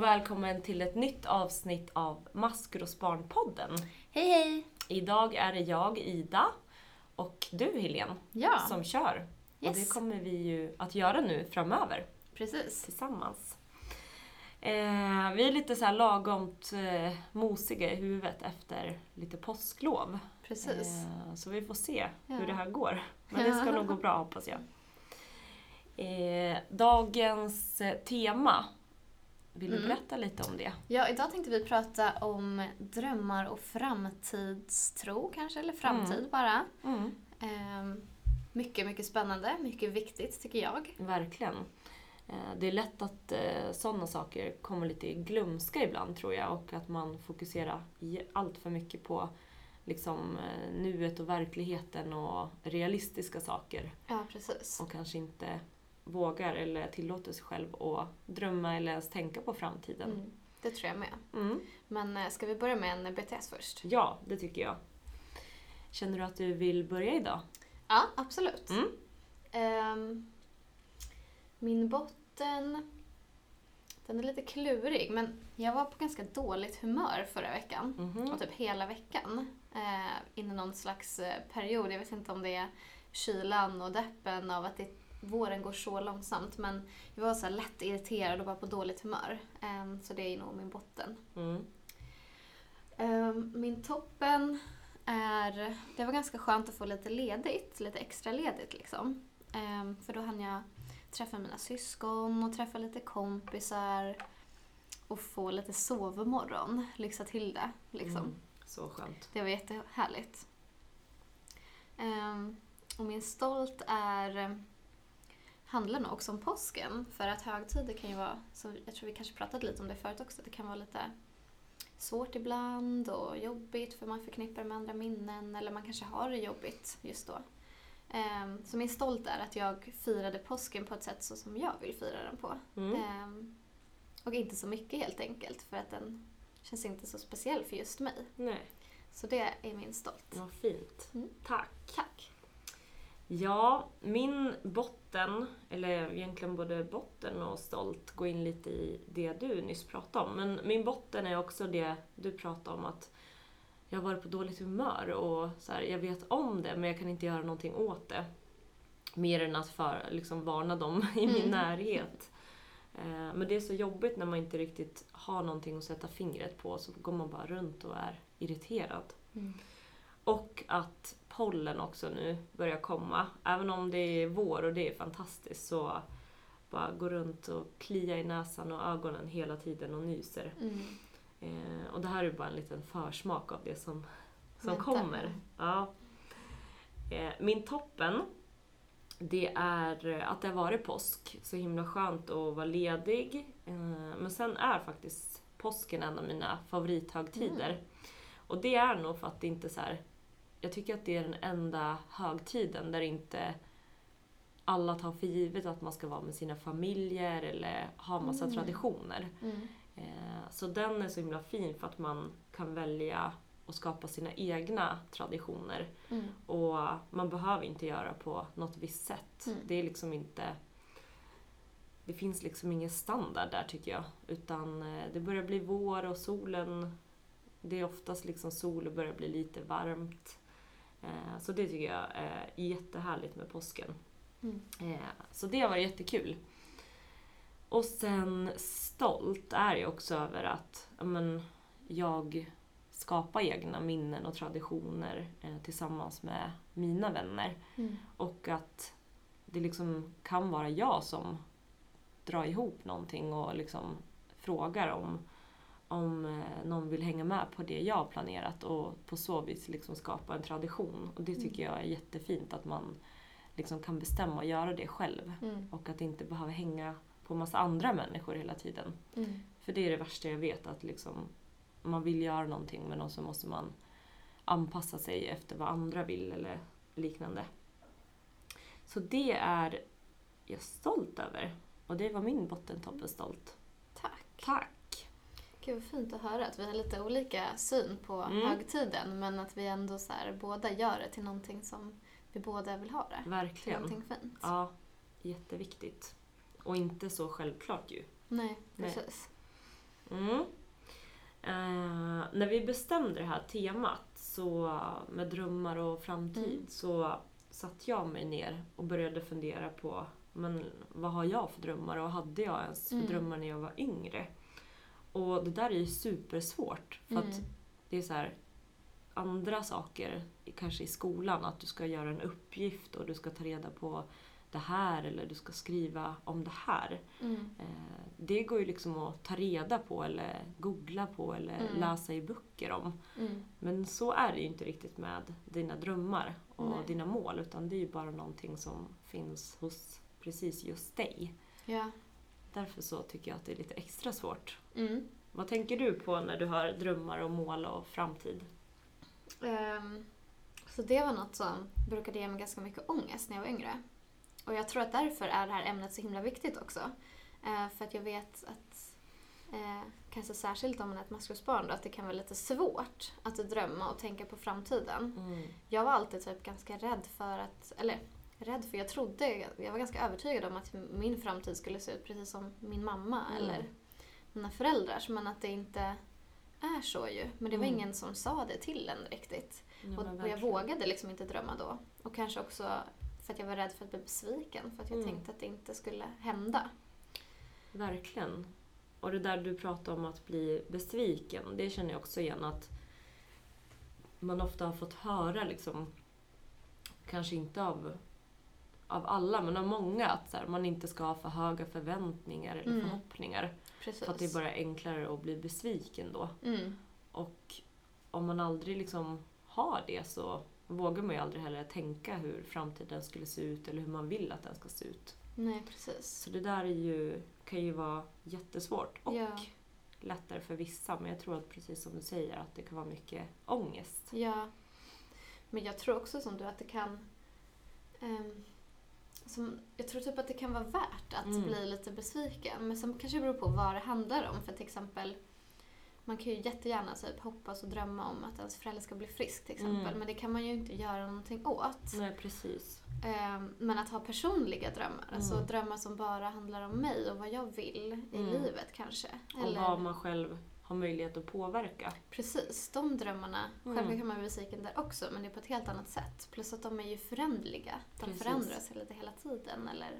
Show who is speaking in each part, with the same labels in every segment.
Speaker 1: välkommen till ett nytt avsnitt av Maskrosbarnpodden.
Speaker 2: Hej hej!
Speaker 1: Idag är det jag, Ida, och du Helene
Speaker 2: Ja,
Speaker 1: som kör. Och det
Speaker 2: yes,
Speaker 1: kommer vi ju att göra nu framöver
Speaker 2: precis.
Speaker 1: tillsammans. Eh, vi är lite så här lagomt eh, mosiga i huvudet efter lite påsklov.
Speaker 2: Precis.
Speaker 1: Eh, så vi får se
Speaker 2: Ja.
Speaker 1: hur det här går. Men det ska
Speaker 2: Ja.
Speaker 1: nog gå bra hoppas jag. Eh, dagens eh, tema, vill du
Speaker 2: Mm.
Speaker 1: berätta lite om det?
Speaker 2: Ja, idag tänkte vi prata om drömmar och framtidstro kanske, eller framtid
Speaker 1: Mm.
Speaker 2: bara. Ehm, mycket, mycket spännande, mycket viktigt tycker jag.
Speaker 1: Verkligen. Eh, Det är lätt att eh, sådana saker kommer lite i glömska ibland tror jag och att man fokuserar i- allt för mycket på liksom, eh, nuet och verkligheten och realistiska saker
Speaker 2: Ja, precis.
Speaker 1: och kanske inte vågar eller tillåter sig själv att drömma eller ens tänka på framtiden.
Speaker 2: Mm, det tror jag med.
Speaker 1: Mm.
Speaker 2: Men eh, ska vi börja med en BTS först?
Speaker 1: Ja, det tycker jag. Känner du att du vill börja idag?
Speaker 2: Ja, absolut.
Speaker 1: Mm.
Speaker 2: Ehm, min botten, den är lite klurig, men jag var på ganska dåligt humör förra veckan.
Speaker 1: Mhm.
Speaker 2: Och typ hela veckan. Eh, in i någon slags eh, period. Jag vet inte om det är kylan och deppen av att det, våren går så långsamt. Men jag var så här lätt irriterad och bara på dåligt humör. Eh, så det är nog min botten.
Speaker 1: Mm.
Speaker 2: Eh, min toppen är... Det var ganska skönt att få lite ledigt. Lite extra ledigt liksom. Eh, för då hann jag träffa mina syskon och träffa lite kompisar. Och få lite sovmorgon. Lyxa till det liksom.
Speaker 1: Mm. Så skönt.
Speaker 2: Det var jättehärligt. Ehm, och min stolt är handlar nog också om påsken. För att högtider kan ju vara, så jag tror vi kanske pratade lite om det förut också, det kan vara lite svårt ibland och jobbigt för man förknippar med andra minnen eller man kanske har det jobbigt just då. Ehm, så min stolt är att jag firade påsken på ett sätt så som jag vill fira den på.
Speaker 1: Mm.
Speaker 2: Ehm, och inte så mycket helt enkelt för att den känns inte så speciell för just mig.
Speaker 1: Nej,
Speaker 2: Så det är min stolt.
Speaker 1: vad fint.
Speaker 2: Mm.
Speaker 1: Tack.
Speaker 2: Tack.
Speaker 1: Ja, min botten, eller egentligen både botten och stolt, går in lite i det du nyss pratade om. Men min botten är också det du pratade om att jag har varit på dåligt humör och så här, jag vet om det men jag kan inte göra någonting åt det. Mer än att för, liksom, varna dem i min
Speaker 2: Mm.
Speaker 1: närhet. Eh, Men det är så jobbigt när man inte riktigt har någonting att sätta fingret på så går man bara runt och är irriterad. Och att pollen också nu börjar komma. Även om det är vår och det är fantastiskt så bara gå runt och klia i näsan och ögonen hela tiden och nyser.
Speaker 2: Mm.
Speaker 1: Eh, och det här är bara en liten försmak av det som, som
Speaker 2: Vänta.
Speaker 1: kommer. Ja. Eh, min toppen, det är eh, att det har varit påsk. Så himla skönt att vara ledig. Eh, men sen är faktiskt påsken en av mina favorithögtider. Och det är nog för att det inte så här. Jag tycker att det är den enda högtiden där inte alla tar för givet att man ska vara med sina familjer eller ha massa
Speaker 2: Mm.
Speaker 1: traditioner.
Speaker 2: Mm.
Speaker 1: Eh, Så den är så himla fin för att man kan välja och skapa sina egna traditioner.
Speaker 2: Mm.
Speaker 1: Och man behöver inte göra på något visst sätt.
Speaker 2: Mm.
Speaker 1: Det är liksom inte... Det finns liksom ingen standard där tycker jag. Utan eh, det börjar bli vår och solen... Det är oftast liksom sol och börjar bli lite varmt. Eh, Så det tycker jag är jättehärligt med påsken.
Speaker 2: Mm.
Speaker 1: Eh, Så det var jättekul. Och sen stolt är jag också över att ja, men, jag skapar egna minnen och traditioner eh, tillsammans med mina vänner.
Speaker 2: Mm.
Speaker 1: Och att det liksom kan vara jag som drar ihop någonting och liksom frågar om, om eh, någon vill hänga med på det jag har planerat och på så vis liksom skapa en tradition. Och det tycker jag är jättefint att man liksom kan bestämma och göra det själv.
Speaker 2: Mm.
Speaker 1: Och att inte behöva hänga på massa andra människor hela tiden.
Speaker 2: Mm.
Speaker 1: För det är det värsta jag vet, att liksom, man vill göra någonting men också måste man anpassa sig efter vad andra vill eller liknande. Så det är jag stolt över. Och det var min bottentopp är stolt.
Speaker 2: Tack.
Speaker 1: Tack!
Speaker 2: Gud vad fint att höra att vi har lite olika syn på
Speaker 1: Mm.
Speaker 2: högtiden men att vi ändå så här, båda gör det till någonting som vi båda vill ha det. Till
Speaker 1: Verkligen.
Speaker 2: någonting fint.
Speaker 1: Ja, jätteviktigt. Och inte så självklart ju.
Speaker 2: Nej,
Speaker 1: Nej.
Speaker 2: precis.
Speaker 1: Mm. Eh, när vi bestämde det här temat så, med drömmar och framtid
Speaker 2: Mm.
Speaker 1: så satte jag mig ner och började fundera på men vad har jag för drömmar och hade jag ens för
Speaker 2: Mm.
Speaker 1: drömmar när jag var yngre? Och det där är ju supersvårt för att
Speaker 2: Mm.
Speaker 1: det är så här andra saker, kanske i skolan, att du ska göra en uppgift och du ska ta reda på det här eller du ska skriva om det här.
Speaker 2: Mm.
Speaker 1: Eh, Det går ju liksom att ta reda på eller googla på eller
Speaker 2: Mm.
Speaker 1: läsa i böcker om.
Speaker 2: Mm.
Speaker 1: Men så är det ju inte riktigt med dina drömmar och
Speaker 2: Nej.
Speaker 1: dina mål utan det är ju bara någonting som finns hos precis just dig.
Speaker 2: Ja.
Speaker 1: Därför så tycker jag att det är lite extra svårt.
Speaker 2: Mm.
Speaker 1: Vad tänker du på när du har drömmar och mål och framtid?
Speaker 2: Ehm, så det var något som brukade ge mig ganska mycket ångest när jag var yngre. Och jag tror att därför är det här ämnet så himla viktigt också. Eh, för att jag vet att, eh, kanske särskilt om man är ett maskrosbarn, då, att det kan vara lite svårt att drömma och tänka på framtiden.
Speaker 1: Mm.
Speaker 2: Jag var alltid typ ganska rädd för att, eller rädd för, jag trodde, jag var ganska övertygad om att min framtid skulle se ut precis som min mamma
Speaker 1: Mm.
Speaker 2: eller mina föräldrars. Men att det inte är så ju. Men det var
Speaker 1: Mm.
Speaker 2: ingen som sa det till en riktigt.
Speaker 1: Ja, men
Speaker 2: och, och jag
Speaker 1: verkligen.
Speaker 2: vågade liksom inte drömma då. Och kanske också för att jag var rädd för att bli besviken. För att jag
Speaker 1: Mm.
Speaker 2: tänkte att det inte skulle hända.
Speaker 1: Verkligen. Och det där du pratade om att bli besviken, det känner jag också igen att man ofta har fått höra, liksom, kanske inte av, av alla, men av många, att så här, man inte ska ha för höga förväntningar eller
Speaker 2: Mm.
Speaker 1: förhoppningar.
Speaker 2: Precis.
Speaker 1: För att det är bara enklare att bli besviken då.
Speaker 2: mm.
Speaker 1: Och om man aldrig liksom har det så vågar man ju aldrig heller tänka hur framtiden skulle se ut eller hur man vill att den ska se ut.
Speaker 2: Nej, precis.
Speaker 1: Så det där är ju, kan ju vara jättesvårt och
Speaker 2: Ja.
Speaker 1: lättare för vissa. Men jag tror att precis som du säger att det kan vara mycket ångest.
Speaker 2: Ja. Men jag tror också som du att det kan... ehm, som, jag tror typ att det kan vara värt att
Speaker 1: Mm.
Speaker 2: bli lite besviken. Men sen kanske det beror på vad det handlar om. För till exempel, man kan ju jättegärna typ hoppas och drömma om att ens förälder ska bli frisk till exempel.
Speaker 1: Mm.
Speaker 2: Men det kan man ju inte göra någonting åt.
Speaker 1: Nej, precis.
Speaker 2: Ehm, men att ha personliga drömmar, alltså
Speaker 1: Mm.
Speaker 2: drömmar som bara handlar om mig och vad jag vill i
Speaker 1: Mm.
Speaker 2: livet kanske.
Speaker 1: Och vad man själv har möjlighet att påverka.
Speaker 2: Precis, de drömmarna.
Speaker 1: Mm.
Speaker 2: Självklart kan man bli besviken där också men det är på ett helt annat sätt. Plus att de är ju föränderliga. De
Speaker 1: Precis.
Speaker 2: förändras lite hela tiden. Eller...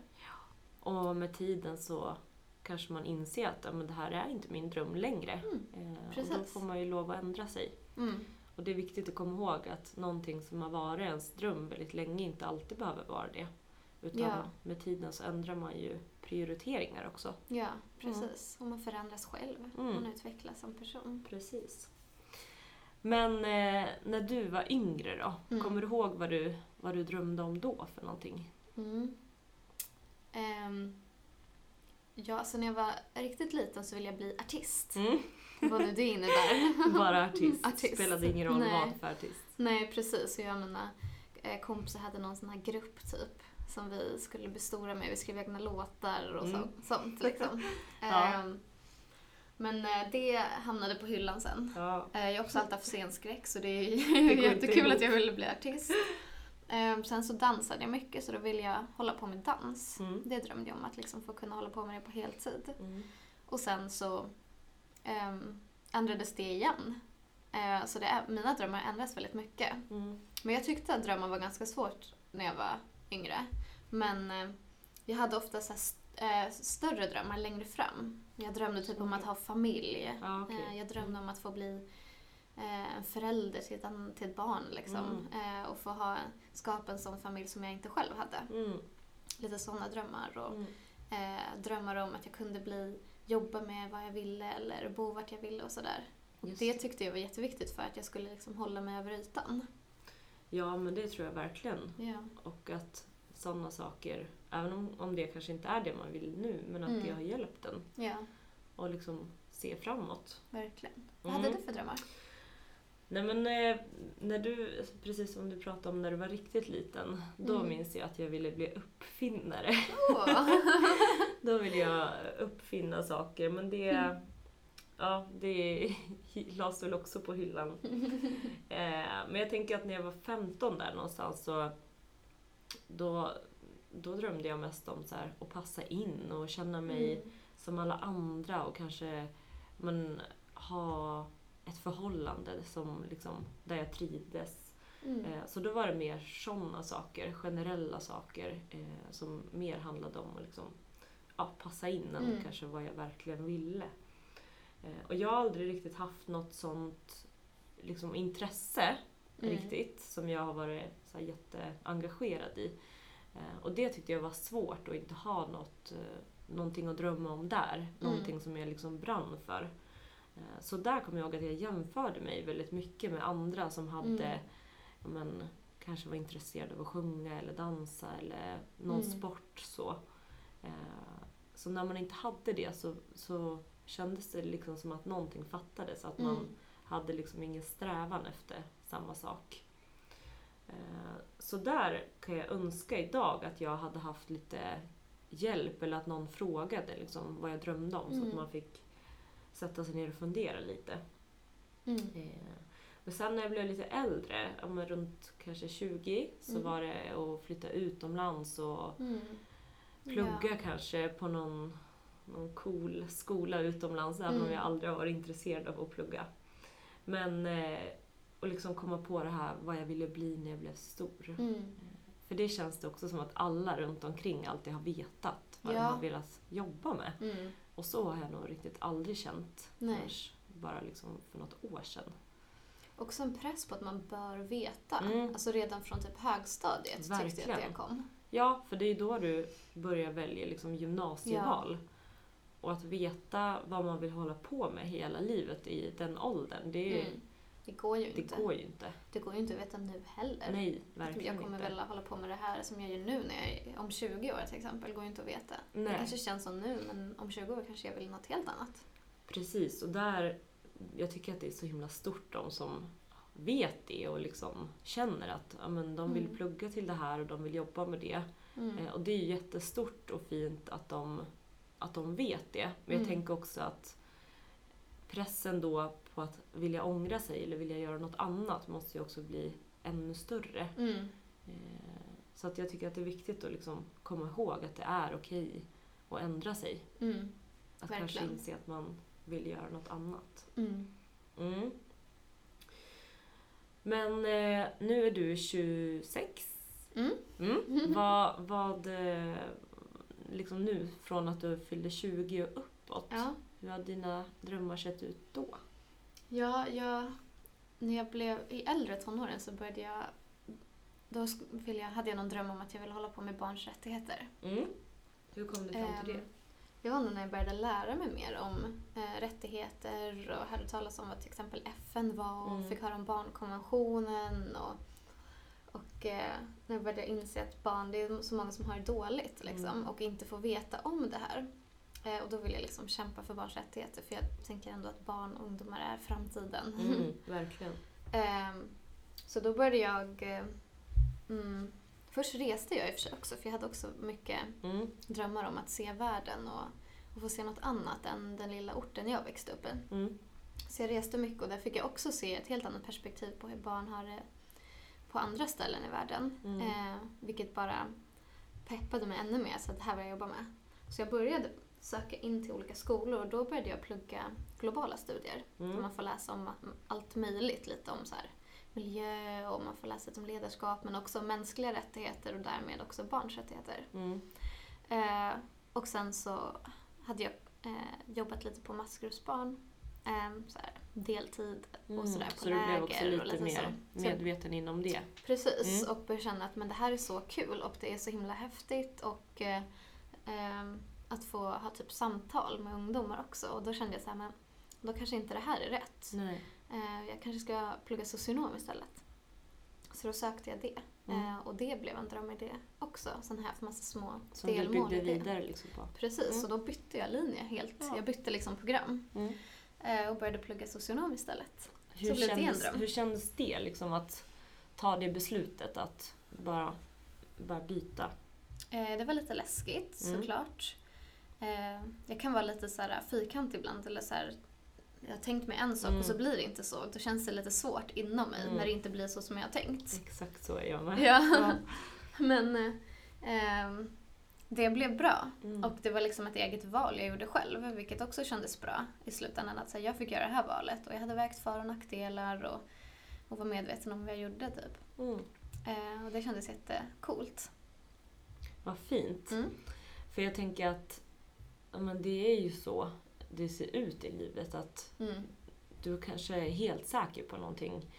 Speaker 1: Och med tiden så kanske man inser att ja, men det här är inte min dröm längre.
Speaker 2: Mm.
Speaker 1: Eh, och då
Speaker 2: precis.
Speaker 1: får man ju lov att ändra sig.
Speaker 2: Mm.
Speaker 1: Och det är viktigt att komma ihåg att någonting som har varit ens dröm väldigt länge inte alltid behöver vara det. Utan
Speaker 2: Ja.
Speaker 1: med tiden så ändrar man ju prioriteringar också.
Speaker 2: Ja, precis. Och man förändras själv.
Speaker 1: Mm.
Speaker 2: Man utvecklas som person.
Speaker 1: Precis. Men eh, när du var yngre då,
Speaker 2: Mm.
Speaker 1: kommer du ihåg vad du, vad du drömde om då för någonting?
Speaker 2: Mm. Ehm, ja, så när jag var riktigt liten så ville jag bli artist.
Speaker 1: Mm.
Speaker 2: Vad nu det innebär.
Speaker 1: Bara artist.
Speaker 2: Artist.
Speaker 1: Spelade ingen roll
Speaker 2: Nej.
Speaker 1: vad för artist.
Speaker 2: Nej, precis. Och jag och mina eh, kompisar hade någon sån här grupp typ som vi skulle bestora med. Vi skrev egna låtar och så,
Speaker 1: Mm.
Speaker 2: sånt liksom.
Speaker 1: Ja.
Speaker 2: Ehm, men eh, det hamnade på hyllan sen.
Speaker 1: Ja.
Speaker 2: Eh, jag har också alltid haft scenskräck så det är
Speaker 1: går inte
Speaker 2: jättekul
Speaker 1: ihop.
Speaker 2: att jag ville bli artist. Ehm, sen så dansade jag mycket så då ville jag hålla på med dans.
Speaker 1: Mm.
Speaker 2: Det drömde jag om, att liksom få kunna hålla på med det på heltid.
Speaker 1: Mm.
Speaker 2: Och sen så ehm, ändrades det igen. Eh, så det är, mina drömmar ändras väldigt mycket.
Speaker 1: Mm.
Speaker 2: Men jag tyckte att drömmar var ganska svårt när jag var yngre. Men eh, jag hade ofta så här st- eh, större drömmar längre fram. Jag drömde typ om att
Speaker 1: Mm.
Speaker 2: ha familj.
Speaker 1: Ja, okej. Mm.
Speaker 2: Eh, jag drömde om att få bli eh, en förälder till ett, ann- till ett barn liksom. Eh, och få ha, skapa en sån familj som jag inte själv hade.
Speaker 1: Mm.
Speaker 2: Lite sådana drömmar. Och,
Speaker 1: Mm.
Speaker 2: eh, drömmar om att jag kunde bli, jobba med vad jag ville eller bo vart jag ville och sådär. Och
Speaker 1: Just
Speaker 2: det
Speaker 1: det.
Speaker 2: tyckte jag var jätteviktigt för att jag skulle liksom hålla mig över ytan.
Speaker 1: Ja, men det tror jag verkligen.
Speaker 2: Ja.
Speaker 1: Och att sådana saker, även om, om det kanske inte är det man vill nu, men att
Speaker 2: Mm.
Speaker 1: det har hjälpt en.
Speaker 2: ja.
Speaker 1: Och liksom se framåt.
Speaker 2: Verkligen. Vad
Speaker 1: Mm.
Speaker 2: hade du för drömmar?
Speaker 1: Nej men eh, när du, alltså, precis som du pratade om när du var riktigt liten, då
Speaker 2: Mm.
Speaker 1: minns jag att jag ville bli uppfinnare.
Speaker 2: Åh.
Speaker 1: Då vill jag uppfinna saker men det, ja, det lades väl också på hyllan. Eh, men jag tänker att när jag var 15 där någonstans så då, då drömde jag
Speaker 2: Mm.
Speaker 1: mest om så här, att passa in och känna mig som alla andra och kanske men ha ett förhållande som liksom, där jag trivdes.
Speaker 2: Mm.
Speaker 1: Eh, Så då var det mer sådana saker, generella saker eh, som mer handlade om att liksom, ja, passa in än
Speaker 2: Mm.
Speaker 1: kanske vad jag verkligen ville. Eh, Och jag har aldrig riktigt haft något sånt liksom, intresse
Speaker 2: Mm.
Speaker 1: riktigt som jag har varit så här, jätteengagerad i. Eh, och det tyckte jag var svårt att inte ha något, eh, någonting att drömma om där.
Speaker 2: Mm.
Speaker 1: Någonting som jag liksom brann för. Eh, så där kommer jag ihåg att jag jämförde mig väldigt mycket med andra som hade
Speaker 2: Mm.
Speaker 1: ja, men, kanske var intresserade av att sjunga eller dansa eller någon
Speaker 2: Mm.
Speaker 1: sport. Så. Eh, så när man inte hade det så, så kändes det liksom som att någonting fattades. Att man
Speaker 2: Mm.
Speaker 1: hade liksom ingen strävan efter samma sak. Eh, Så där kan jag önska idag att jag hade haft lite hjälp eller att någon frågade liksom vad jag drömde om så att
Speaker 2: Mm.
Speaker 1: man fick sätta sig ner och fundera lite.
Speaker 2: Mm.
Speaker 1: Eh, Men sen när jag blev lite äldre, ja, men runt kanske 20, så
Speaker 2: Mm.
Speaker 1: var det att flytta utomlands och
Speaker 2: Mm.
Speaker 1: plugga
Speaker 2: Ja.
Speaker 1: kanske på någon, någon cool skola utomlands, även om
Speaker 2: Mm.
Speaker 1: jag aldrig har varit intresserad av att plugga. Men, eh, och liksom komma på det här vad jag ville bli när jag blev stor.
Speaker 2: Mm.
Speaker 1: För det känns det också som att alla runt omkring alltid har vetat vad de
Speaker 2: Ja.
Speaker 1: har velat jobba med.
Speaker 2: Mm.
Speaker 1: Och så har jag nog riktigt aldrig känt
Speaker 2: Nej.
Speaker 1: förrän bara liksom för något år sedan.
Speaker 2: Också en press på att man bör veta.
Speaker 1: Mm.
Speaker 2: Alltså redan från typ högstadiet tyckte jag att
Speaker 1: Verkligen.
Speaker 2: det kom.
Speaker 1: Ja, för det är ju då du börjar välja liksom gymnasieval. Och att veta vad man vill hålla på med hela livet i den åldern, det,
Speaker 2: Mm. Det går ju
Speaker 1: det
Speaker 2: inte.
Speaker 1: går ju inte.
Speaker 2: Det går ju inte att veta nu heller.
Speaker 1: Nej,
Speaker 2: Att
Speaker 1: verkligen
Speaker 2: jag kommer
Speaker 1: inte.
Speaker 2: väl att hålla på med det här som jag gör nu när jag är, om 20 år till exempel. går ju inte att veta. Det
Speaker 1: Nej.
Speaker 2: kanske känns som nu men om 20 år kanske jag vill något helt annat.
Speaker 1: Precis, och där, jag tycker att det är så himla stort de som vet det och liksom känner att ja, men de vill
Speaker 2: Mm.
Speaker 1: plugga till det här och de vill jobba med det.
Speaker 2: Mm.
Speaker 1: Eh, Och det är ju jättestort och fint att de, att de vet det. Men jag
Speaker 2: Mm.
Speaker 1: tänker också att pressen då på att vilja ångra sig eller vilja göra något annat måste ju också bli ännu större.
Speaker 2: Mm.
Speaker 1: Eh, Så att jag tycker att det är viktigt att liksom komma ihåg att det är okej att ändra sig.
Speaker 2: Mm.
Speaker 1: Att kanske
Speaker 2: Verkligen.
Speaker 1: inse att man vill göra något annat.
Speaker 2: Mm.
Speaker 1: Mm. Men eh, nu är du 26.
Speaker 2: Mm.
Speaker 1: Mm. Vad, vad eh, liksom nu, från att du fyllde 20 och uppåt,
Speaker 2: Ja.
Speaker 1: hur har dina drömmar sett ut då?
Speaker 2: Ja, jag, när jag blev i äldre tonåren så började jag... Då sk- ville jag, hade jag någon dröm om att jag ville hålla på med barns rättigheter.
Speaker 1: Mm. Hur kom du fram till
Speaker 2: Ehm,
Speaker 1: det?
Speaker 2: Det var nog när jag började lära mig mer om eh, rättigheter och hörde talas om vad till exempel FN var och
Speaker 1: Mm.
Speaker 2: fick höra om barnkonventionen. Och, och eh, när jag började inse att barn, det är så många som har det dåligt liksom,
Speaker 1: Mm.
Speaker 2: och inte får veta om det här. Eh, och då ville jag liksom kämpa för barns rättigheter för jag tänker ändå att barn och ungdomar är framtiden.
Speaker 1: Mm, verkligen.
Speaker 2: Ehm, så då började jag... eh, Mm, först reste jag i och för sig också, för jag hade också mycket
Speaker 1: Mm,
Speaker 2: drömmar om att se världen och, och få se något annat än den lilla orten jag växte upp i.
Speaker 1: mm,
Speaker 2: Så jag reste mycket och där fick jag också se ett helt annat perspektiv på hur barn har det på andra ställen i världen.
Speaker 1: Mm.
Speaker 2: Eh, vilket bara peppade mig ännu mer, så att det här vill jag jobba med. Så jag började söka in till olika skolor och då började jag plugga globala studier. Där
Speaker 1: mm,
Speaker 2: man får läsa om allt möjligt, lite om så här, miljö och man får läsa lite om ledarskap men också om mänskliga rättigheter och därmed också barns rättigheter.
Speaker 1: mm,
Speaker 2: Eh, och sen så hade jag eh, jobbat lite på maskrosbarn, eh, så här, deltid
Speaker 1: mm.
Speaker 2: och sådär på
Speaker 1: Så du blev också
Speaker 2: läger.
Speaker 1: lite,
Speaker 2: och lite
Speaker 1: mer
Speaker 2: så. Så jag-
Speaker 1: medveten inom det?
Speaker 2: Precis,
Speaker 1: Mm.
Speaker 2: och började känna att men det här är så kul och det är så himla häftigt och eh, ehm, att få ha typ samtal med ungdomar också. Och då kände jag så här, men då kanske inte det här är rätt.
Speaker 1: Nej.
Speaker 2: Eh, jag kanske ska plugga socionom istället. Så då sökte jag det.
Speaker 1: Mm.
Speaker 2: Eh, och det blev en drömidé också. Sen har jag haft massa små
Speaker 1: Som du
Speaker 2: delmål
Speaker 1: byggde
Speaker 2: i det.
Speaker 1: vidare liksom på?
Speaker 2: Precis,
Speaker 1: Mm.
Speaker 2: så då bytte jag linje helt.
Speaker 1: Ja.
Speaker 2: Jag bytte liksom program
Speaker 1: Mm.
Speaker 2: eh, och började plugga socionom istället.
Speaker 1: Hur,
Speaker 2: Så blev det en
Speaker 1: kändes,
Speaker 2: dröm.
Speaker 1: hur kändes det liksom att ta det beslutet att bara, bara byta?
Speaker 2: Eh, det var lite läskigt
Speaker 1: Mm.
Speaker 2: såklart. Eh, jag kan vara lite så här fyrkant ibland eller så här, jag har tänkt mig en sak
Speaker 1: Mm.
Speaker 2: och så blir det inte så. Då känns det lite svårt inom mig
Speaker 1: Mm.
Speaker 2: när det inte blir så som jag har tänkt.
Speaker 1: Exakt så är jag med.
Speaker 2: Ja. Men eh, ehm, det blev bra.
Speaker 1: Mm.
Speaker 2: Och det var liksom ett eget val jag gjorde själv, vilket också kändes bra i slutändan. Att så här, jag fick göra det här valet och jag hade vägt för och nackdelar och, och var medveten om vad jag gjorde. Typ.
Speaker 1: Mm.
Speaker 2: Eh, och det kändes jättecoolt.
Speaker 1: Vad fint.
Speaker 2: Mm.
Speaker 1: För jag tänker att ja, men det är ju så det ser ut i livet. Att
Speaker 2: Mm.
Speaker 1: du kanske är helt säker på någonting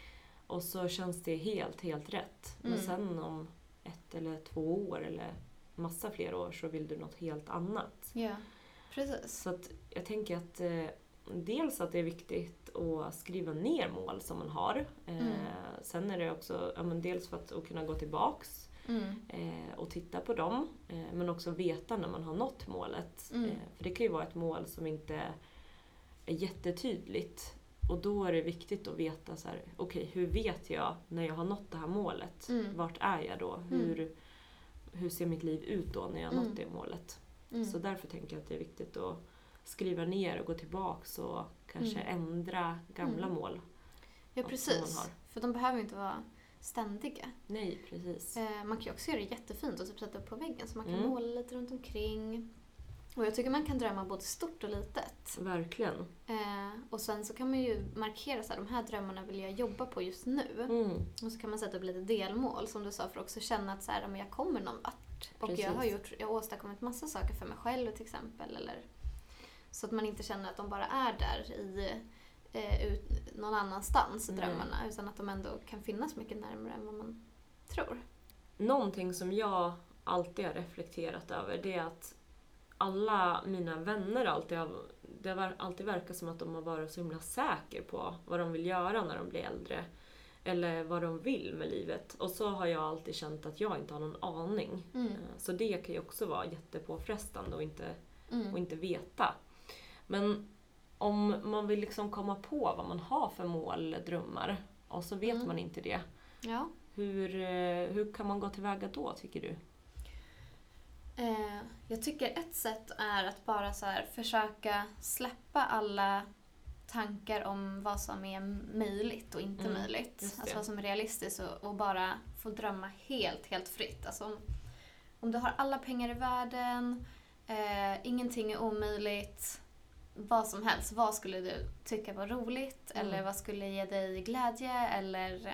Speaker 1: och så känns det helt, helt rätt. Men
Speaker 2: Mm.
Speaker 1: sen om ett eller två år eller massa fler år så vill du något helt annat.
Speaker 2: Ja, precis.
Speaker 1: Så att jag tänker att eh, dels att det är viktigt att skriva ner mål som man har. Eh,
Speaker 2: Mm.
Speaker 1: Sen är det också, ja, men dels för att, att kunna gå tillbaks
Speaker 2: Mm.
Speaker 1: eh, och titta på dem. Eh, men också veta när man har nått målet.
Speaker 2: Mm.
Speaker 1: Eh, för det kan ju vara ett mål som inte är jättetydligt. Och då är det viktigt att veta så här, okej hur vet jag när jag har nått det här målet?
Speaker 2: Mm.
Speaker 1: Vart är jag då? Hur, hur ser mitt liv ut då när jag har nått
Speaker 2: Mm.
Speaker 1: det målet?
Speaker 2: Mm.
Speaker 1: Så därför tänker jag att det är viktigt att skriva ner och gå tillbaks och kanske ändra gamla
Speaker 2: Mm.
Speaker 1: mål.
Speaker 2: Ja,
Speaker 1: man
Speaker 2: precis.
Speaker 1: har.
Speaker 2: För de behöver ju inte vara ständiga.
Speaker 1: Nej, precis.
Speaker 2: Eh, man kan ju också göra det jättefint och typ sätta upp på väggen så man kan
Speaker 1: Mm.
Speaker 2: måla lite runt omkring. Och jag tycker man kan drömma både stort och litet.
Speaker 1: Verkligen.
Speaker 2: Eh, och sen så kan man ju markera så här, de här drömmarna vill jag jobba på just nu.
Speaker 1: Mm.
Speaker 2: Och så kan man sätta upp lite delmål som du sa för att också känna att så här, men jag kommer någon vart. Och jag har,
Speaker 1: Precis.
Speaker 2: gjort, jag har åstadkommit massa saker för mig själv till exempel. Eller, så att man inte känner att de bara är där i eh, ut, någon annanstans,
Speaker 1: Nej.
Speaker 2: drömmarna. Utan att de ändå kan finnas mycket närmare än vad man tror.
Speaker 1: Någonting som jag alltid har reflekterat över det är att alla mina vänner alltid har, det har alltid verkat som att de har varit så himla säkra på vad de vill göra när de blir äldre. Eller vad de vill med livet. Och så har jag alltid känt att jag inte har någon aning.
Speaker 2: Mm.
Speaker 1: Eh, Så det kan ju också vara jättepåfrestande och inte,
Speaker 2: Mm.
Speaker 1: och inte veta. Men om man vill liksom komma på vad man har för mål eller drömmar och så vet
Speaker 2: Mm.
Speaker 1: man inte det.
Speaker 2: Ja.
Speaker 1: Hur, eh, hur kan man gå tillväga då, tycker du?
Speaker 2: Eh, jag tycker ett sätt är att bara så här, försöka släppa alla tankar om vad som är möjligt och inte
Speaker 1: Mm,
Speaker 2: möjligt.
Speaker 1: just det.
Speaker 2: Alltså vad som är realistiskt och, och bara få drömma helt, helt fritt. Alltså om, om du har alla pengar i världen, eh, ingenting är omöjligt, vad som helst. Vad skulle du tycka var roligt
Speaker 1: Mm.
Speaker 2: eller vad skulle ge dig glädje eller eh,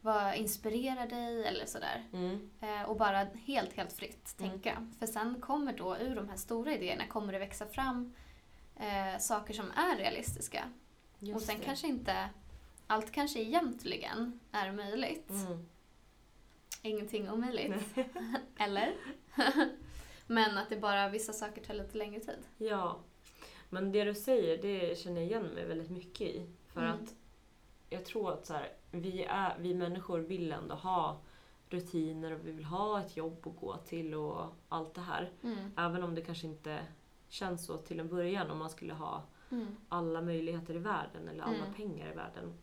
Speaker 2: vad inspirerar dig eller sådär.
Speaker 1: Mm.
Speaker 2: Eh, Och bara helt, helt fritt
Speaker 1: Mm.
Speaker 2: tänka. För sen kommer då ur de här stora idéerna kommer det växa fram eh, saker som är realistiska. och sen kanske inte allt kanske egentligen är möjligt.
Speaker 1: Mm.
Speaker 2: Ingenting omöjligt. Eller? Men att det bara vissa saker tar lite längre tid.
Speaker 1: Ja. Men det du säger, det känner jag igen mig väldigt mycket i. För
Speaker 2: Mm.
Speaker 1: att jag tror att så här, vi, är, vi människor vill ändå ha rutiner och vi vill ha ett jobb att gå till och allt det här.
Speaker 2: Mm.
Speaker 1: Även om det kanske inte känns så till en början om man skulle ha
Speaker 2: Mm.
Speaker 1: alla möjligheter i världen eller alla
Speaker 2: Mm.
Speaker 1: pengar i världen.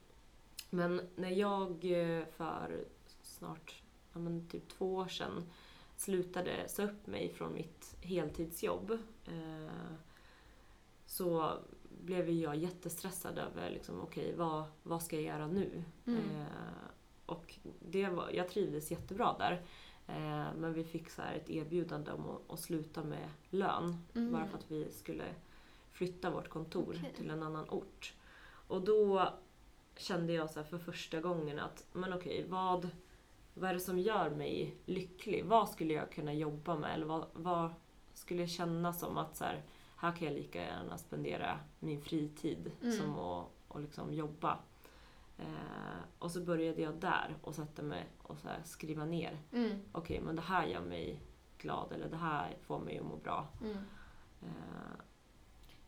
Speaker 1: Men när jag eh, för snart ja, men typ två år sedan slutade sa upp mig från mitt heltidsjobb eh, så blev ju jag jättestressad över liksom, okej, vad, vad ska jag göra nu?
Speaker 2: Mm.
Speaker 1: Eh, och det var, jag trivdes jättebra där. Eh, men vi fick så här ett erbjudande om att, att sluta med lön
Speaker 2: Mm.
Speaker 1: bara för att vi skulle flytta vårt kontor
Speaker 2: Okej.
Speaker 1: till en annan ort. Och då kände jag så här för första gången att, men okej, vad, vad är det som gör mig lycklig? Vad skulle jag kunna jobba med? Eller vad, vad skulle jag känna som att så här, här kan jag lika gärna spendera min fritid
Speaker 2: Mm.
Speaker 1: som att och liksom jobba. Eh, och så började jag där och satte mig och så här skriva ner.
Speaker 2: Mm.
Speaker 1: Okej, men det här gör mig glad eller det här får mig att må bra.
Speaker 2: Mm.
Speaker 1: Eh,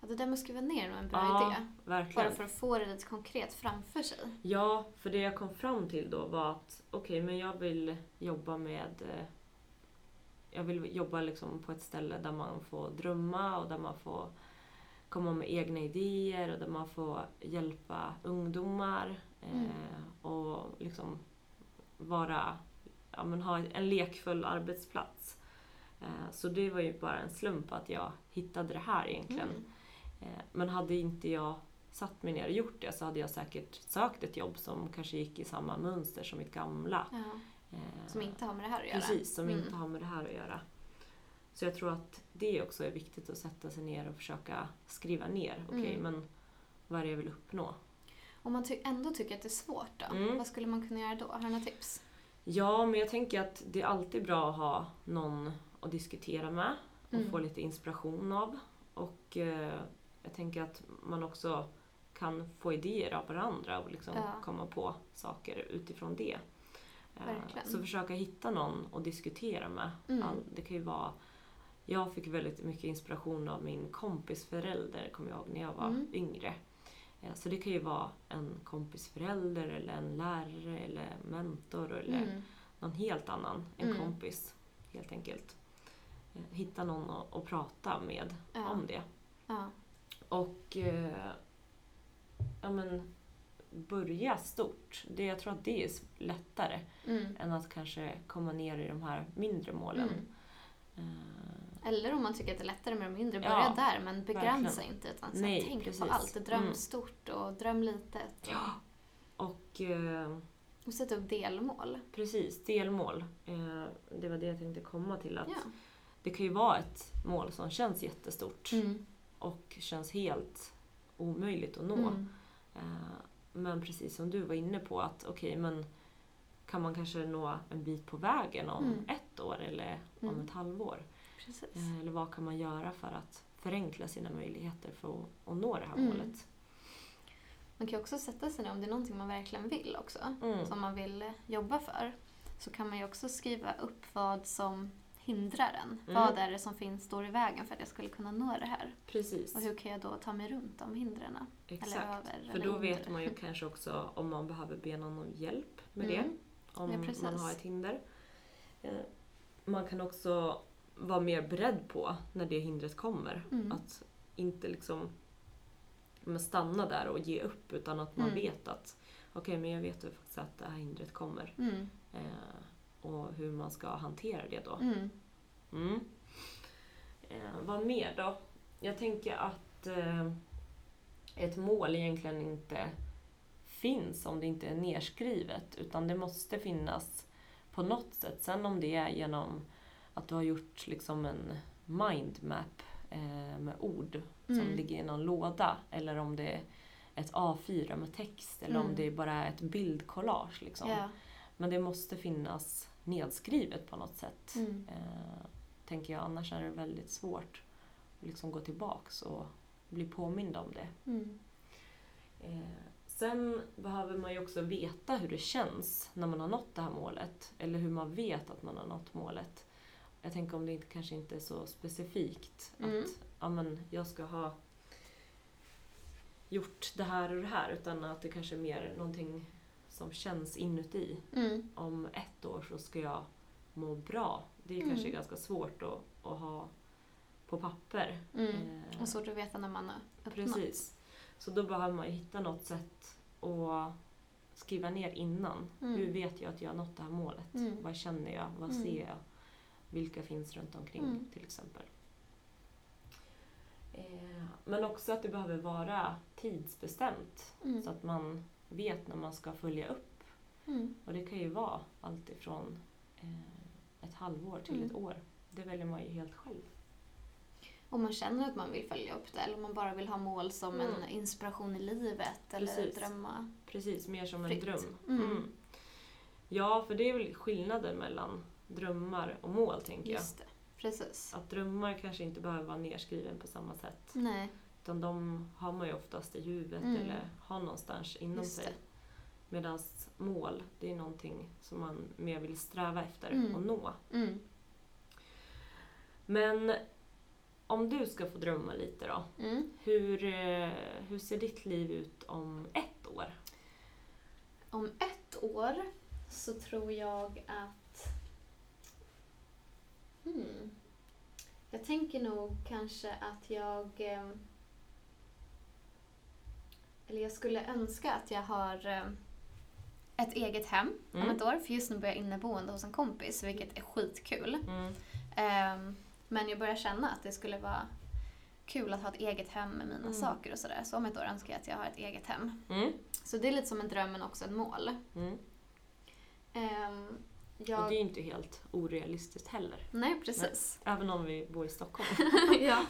Speaker 2: Ja, det där med att skriva ner var en bra
Speaker 1: Ja,
Speaker 2: idé.
Speaker 1: verkligen.
Speaker 2: Bara för att få det lite konkret framför sig.
Speaker 1: Ja, för det jag kom fram till då var att okej, men jag vill jobba med... eh, Jag vill jobba liksom på ett ställe där man får drömma och där man får komma med egna idéer och där man får hjälpa ungdomar eh, och liksom vara... Ja, men ha en lekfull arbetsplats. Eh, så det var ju bara en slump att jag hittade det här egentligen.
Speaker 2: Mm.
Speaker 1: Eh, Men hade inte jag satt mig ner och gjort det så hade jag säkert sökt ett jobb som kanske gick i samma mönster som mitt gamla.
Speaker 2: Ja,
Speaker 1: Eh,
Speaker 2: som inte har med det här att göra.
Speaker 1: Precis, som
Speaker 2: Mm.
Speaker 1: inte har med det här att göra. Så jag tror att det också är viktigt att sätta sig ner och försöka skriva ner. Okej,
Speaker 2: Mm.
Speaker 1: men vad är det jag vill uppnå?
Speaker 2: Om man ty- ändå tycker att det är svårt då,
Speaker 1: Mm.
Speaker 2: vad skulle man kunna göra då? Har du några tips?
Speaker 1: Ja, men jag tänker att det är alltid bra att ha någon att diskutera med och
Speaker 2: Mm.
Speaker 1: få lite inspiration av. Och eh, jag tänker att man också kan få idéer av varandra och liksom
Speaker 2: Ja.
Speaker 1: komma på saker utifrån det. Eh,
Speaker 2: Verkligen.
Speaker 1: Så försöka hitta någon att diskutera med.
Speaker 2: Mm.
Speaker 1: All, det kan ju vara... Jag fick väldigt mycket inspiration av min kompis förälder, kommer jag ihåg, när jag var
Speaker 2: Mm.
Speaker 1: yngre. Eh, Så det kan ju vara en kompis förälder eller en lärare eller mentor eller
Speaker 2: Mm.
Speaker 1: någon helt annan, en
Speaker 2: Mm.
Speaker 1: kompis helt enkelt. Eh, Hitta någon att, att prata med
Speaker 2: Ja.
Speaker 1: om det.
Speaker 2: Ja.
Speaker 1: Och eh, ja, men, börja stort. Det, jag tror att det är s- lättare
Speaker 2: Mm.
Speaker 1: än att kanske komma ner i de här mindre målen.
Speaker 2: Mm.
Speaker 1: Eh,
Speaker 2: Eller om man tycker att det är lättare med de mindre, börja
Speaker 1: Ja,
Speaker 2: där men begränsa
Speaker 1: verkligen.
Speaker 2: inte. Utan så här,
Speaker 1: Nej,
Speaker 2: tänk
Speaker 1: precis.
Speaker 2: på allt, dröm
Speaker 1: Mm.
Speaker 2: stort och dröm litet. Och,
Speaker 1: och eh,
Speaker 2: och sätt upp delmål.
Speaker 1: precis, delmål. Eh, det var det jag tänkte komma till. Att
Speaker 2: Ja.
Speaker 1: Det kan ju vara ett mål som känns jättestort
Speaker 2: Mm.
Speaker 1: och känns helt omöjligt att nå.
Speaker 2: Mm.
Speaker 1: Eh, Men precis som du var inne på, att okej, men kan man kanske nå en bit på vägen om
Speaker 2: Mm.
Speaker 1: ett år eller om
Speaker 2: Mm.
Speaker 1: ett halvår?
Speaker 2: Precis.
Speaker 1: Eh, Eller vad kan man göra för att förenkla sina möjligheter för att, att nå det här
Speaker 2: Mm.
Speaker 1: målet?
Speaker 2: Man kan ju också sätta sig ner om det är någonting man verkligen vill också.
Speaker 1: Mm.
Speaker 2: som man vill jobba för så kan man ju också skriva upp vad som hindrar en.
Speaker 1: Mm.
Speaker 2: Vad är det som finns, står i vägen för att jag skulle kunna nå det här?
Speaker 1: Precis,
Speaker 2: Och hur kan jag då ta mig runt de hindren? Eller
Speaker 1: exakt.
Speaker 2: över?
Speaker 1: För
Speaker 2: eller
Speaker 1: då
Speaker 2: under?
Speaker 1: vet man ju kanske också om man behöver be någon om hjälp med det,
Speaker 2: Mm.
Speaker 1: om
Speaker 2: Ja, precis.
Speaker 1: man har ett hinder. Eh, Man kan också vara mer beredd på när det hindret kommer.
Speaker 2: Mm.
Speaker 1: Att inte liksom men stanna där och ge upp utan att man
Speaker 2: Mm.
Speaker 1: vet att okej, men jag vet ju faktiskt att det här hindret kommer.
Speaker 2: Mm.
Speaker 1: Eh, och hur man ska hantera det då.
Speaker 2: Mm.
Speaker 1: Mm. Eh, vad mer då? Jag tänker att eh, ett mål egentligen inte finns om det inte är nerskrivet utan det måste finnas på något sätt. Sen om det är genom att du har gjort liksom en mindmap eh, med ord som
Speaker 2: Mm.
Speaker 1: ligger i någon låda eller om det är ett A4 med text eller om
Speaker 2: Mm.
Speaker 1: det är bara är ett bildkollage. Liksom.
Speaker 2: Ja.
Speaker 1: Men det måste finnas nedskrivet på något sätt.
Speaker 2: Mm.
Speaker 1: Eh, tänker jag, annars är det väldigt svårt att liksom gå tillbaks och bli påmind om det.
Speaker 2: Mm.
Speaker 1: Eh, sen behöver man ju också veta hur det känns när man har nått det här målet, eller hur man vet att man har nått målet. Jag tänker om det inte, kanske inte är så specifikt
Speaker 2: Mm.
Speaker 1: att ja, men jag ska ha gjort det här och det här, utan att det kanske är mer någonting som känns inuti
Speaker 2: Mm.
Speaker 1: om ett år så ska jag må bra. Det är kanske
Speaker 2: Mm.
Speaker 1: ganska svårt att, att ha på papper.
Speaker 2: Mm.
Speaker 1: Eh,
Speaker 2: Och svårt att veta när man har uppnått.
Speaker 1: precis. Så då behöver man ju hitta något sätt att skriva ner innan.
Speaker 2: Mm.
Speaker 1: Hur vet jag att jag har nått det här målet?
Speaker 2: Mm.
Speaker 1: Vad känner jag? Vad
Speaker 2: Mm.
Speaker 1: ser jag? Vilka finns runt omkring
Speaker 2: Mm.
Speaker 1: till exempel? Eh, Men också att det behöver vara tidsbestämt
Speaker 2: Mm.
Speaker 1: så att man vet när man ska följa upp
Speaker 2: Mm.
Speaker 1: och det kan ju vara allt ifrån eh, ett halvår till
Speaker 2: Mm.
Speaker 1: ett år. Det väljer man ju helt själv.
Speaker 2: Om man känner att man vill följa upp det eller om man bara vill ha mål som
Speaker 1: Mm.
Speaker 2: en inspiration i livet eller
Speaker 1: Precis.
Speaker 2: drömma.
Speaker 1: Precis, mer som en
Speaker 2: Fritt.
Speaker 1: dröm.
Speaker 2: Mm.
Speaker 1: Ja, för det är väl skillnaden mellan drömmar och mål, tänker jag.
Speaker 2: Just det. Precis.
Speaker 1: Att drömmar kanske inte behöver vara nerskriven på samma sätt.
Speaker 2: Nej.
Speaker 1: Utan de har man ju oftast i huvudet
Speaker 2: Mm.
Speaker 1: eller har någonstans inom
Speaker 2: Just
Speaker 1: sig.
Speaker 2: det.
Speaker 1: Medan mål, det är någonting som man mer vill sträva efter
Speaker 2: Mm.
Speaker 1: och nå.
Speaker 2: Mm.
Speaker 1: Men om du ska få drömma lite då,
Speaker 2: Mm.
Speaker 1: Hur, eh, hur ser ditt liv ut om ett år?
Speaker 2: Om ett år så tror jag att... Hmm. Jag tänker nog kanske att jag... eh, Eller jag skulle önska att jag har eh, ett eget hem
Speaker 1: Mm.
Speaker 2: om ett år. För just nu bor jag inneboende hos en kompis, vilket är skitkul.
Speaker 1: Mm.
Speaker 2: Ehm, men jag börjar känna att det skulle vara kul att ha ett eget hem med mina
Speaker 1: Mm.
Speaker 2: saker och sådär. Så om ett år önskar jag att jag har ett eget hem.
Speaker 1: Mm.
Speaker 2: Så det är lite som en dröm men också ett mål.
Speaker 1: Mm.
Speaker 2: Ehm,
Speaker 1: Och
Speaker 2: Jag...
Speaker 1: det är ju inte helt orealistiskt heller.
Speaker 2: Nej, precis.
Speaker 1: Även om vi bor i Stockholm.
Speaker 2: ja.